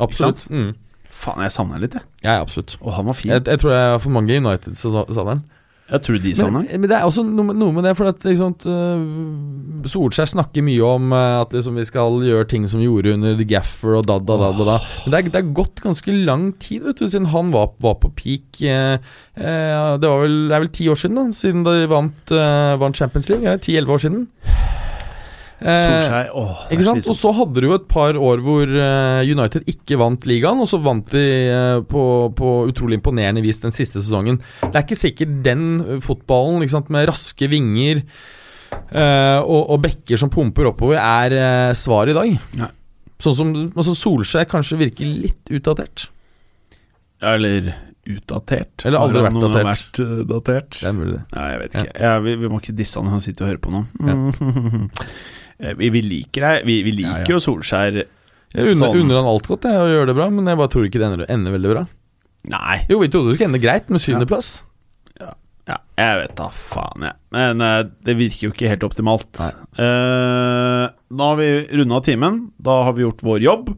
Speaker 2: Absolutt. Mm.
Speaker 3: Faen, jeg savner han litt, jeg.
Speaker 2: Ja, ja, absolutt.
Speaker 3: Og han var fin.
Speaker 2: Jeg, jeg tror jeg har for mange United-savneren.
Speaker 3: Jeg tror de
Speaker 2: Men,
Speaker 3: savner han.
Speaker 2: men det er også noe, med- noe med det, for at liksom, at, øh, Solskjær snakker mye om øh, at liksom, vi skal gjøre ting som vi gjorde under The Gaffer og da, da, da, da, da. Men det er, det er gått ganske lang tid vet du, siden han var, var på peak. eh, eh, det, var vel, det er vel ti år siden, da, siden de vant, eh, vant Champions League. Ti-elleve år siden. Eh,
Speaker 3: Solskjær, åh, det er
Speaker 2: ikke sant?
Speaker 3: slitsomt.
Speaker 2: Og så hadde du jo et par år hvor eh, United ikke vant ligaen, og så vant de eh, på, på utrolig imponerende vis den siste sesongen. Det er ikke sikkert den eh, fotballen ikke sant, med raske vinger eh, og, og bekker som pumper oppover, er eh, svaret i dag.
Speaker 3: Nei.
Speaker 2: Sånn som altså Solskjær kanskje virker litt utdatert.
Speaker 3: Ja, Eller utdatert.
Speaker 2: Eller aldri
Speaker 3: Har
Speaker 2: vært
Speaker 3: han noen gang
Speaker 2: datert.
Speaker 3: vært eh, datert?
Speaker 2: Det er mulig, det.
Speaker 3: Nei, jeg vet ikke. Ja, vi, vi må ikke disse han, han sitter og hører på nå. Eh, vi, vi liker deg. Vi, vi liker
Speaker 2: Ja, ja.
Speaker 3: jo Solskjær
Speaker 2: Jeg unner,
Speaker 3: Sånn.
Speaker 2: unner han alt godt, jeg, og gjør det bra, men jeg bare tror ikke det ender, ender veldig bra.
Speaker 3: Nei,
Speaker 2: Jo, vi trodde det skulle ende greit, med syvendeplass.
Speaker 3: ja, jeg vet da faen, jeg. Men eh, det virker jo ikke helt optimalt.
Speaker 2: Nei.
Speaker 3: Eh, da har vi runda timen. Da har vi gjort vår jobb.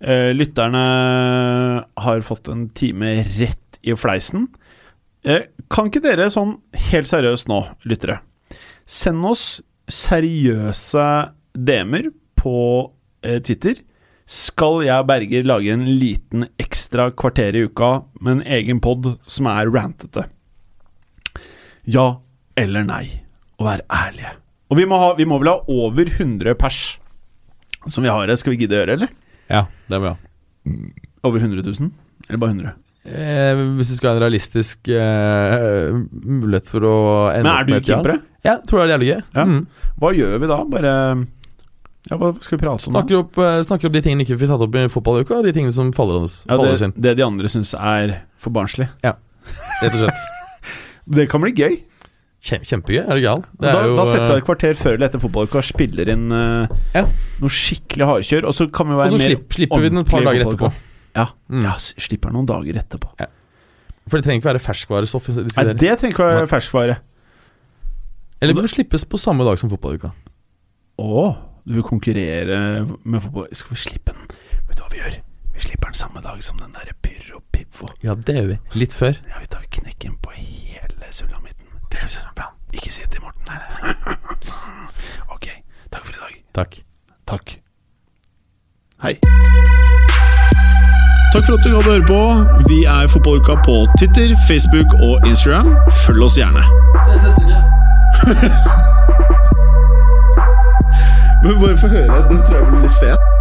Speaker 3: Eh, lytterne har fått en time rett i fleisen. Eh, kan ikke dere sånn helt seriøst nå, lyttere, send oss seriøse DM-er på eh, Twitter? Skal jeg og Berger lage en liten ekstra kvarter i uka med en egen pod som er rantete? Ja eller nei, og vær ærlige. Og vi må, ha, vi må vel ha over 100 pers som vi har her. Skal vi gidde å gjøre, eller?
Speaker 2: Ja, det må vi ha.
Speaker 3: Over 100 000? Eller bare 100?
Speaker 2: Eh, hvis du skal ha en realistisk eh, mulighet for å ende
Speaker 3: Men
Speaker 2: opp
Speaker 3: er du
Speaker 2: med et ja.
Speaker 3: keepere?
Speaker 2: Ja, tror det er jævlig gøy.
Speaker 3: Ja.
Speaker 2: Mm.
Speaker 3: Hva gjør vi da? Bare Ja, hva skal vi prate om? da?
Speaker 2: Snakker, opp, eh, snakker opp de tingene ikke vi fikk tatt opp i fotballuka, og de tingene som faller oss,
Speaker 3: Ja,
Speaker 2: faller oss
Speaker 3: det,
Speaker 2: inn,
Speaker 3: det de andre syns er for barnslig.
Speaker 2: rett og slett.
Speaker 3: Det kan bli gøy.
Speaker 2: Kjem, kjempegøy, er du gal? Det
Speaker 3: Da,
Speaker 2: er jo,
Speaker 3: da setter vi av
Speaker 2: eh,
Speaker 3: et kvarter før eller etter fotballuka og spiller inn eh,
Speaker 2: Ja.
Speaker 3: noe skikkelig hardkjør. Og så kan vi
Speaker 2: og
Speaker 3: være
Speaker 2: så
Speaker 3: mer
Speaker 2: slipp, slipper vi den et par
Speaker 3: ordentlig
Speaker 2: dager
Speaker 3: fotballuka.
Speaker 2: etterpå.
Speaker 3: Ja,
Speaker 2: Mm.
Speaker 3: ja s- slipper noen dager etterpå.
Speaker 2: For det trenger ikke være ferskvarestoff. vi
Speaker 3: Nei,
Speaker 2: diskuterer.
Speaker 3: det trenger ikke være ferskvare.
Speaker 2: Eller burde slippes på samme dag som fotballuka.
Speaker 3: Å, du vil konkurrere med fotball Skal vi slippe den? Vet du hva vi gjør? Vi slipper den samme dag som den derre Pyrro Pivo.
Speaker 2: Ja, det gjør vi. Litt før.
Speaker 3: Ja, vi tar knekken på hele sulamitten. Det høres ut som en plan. Ikke si det til Morten. ok, takk for i dag.
Speaker 2: Takk.
Speaker 3: Takk. Hei.
Speaker 1: Takk for at du hadde høre på. Vi er Fotballuka på Twitter, Facebook og Instagram. Følg oss gjerne. Men bare få høre. Den tror jeg blir litt fet.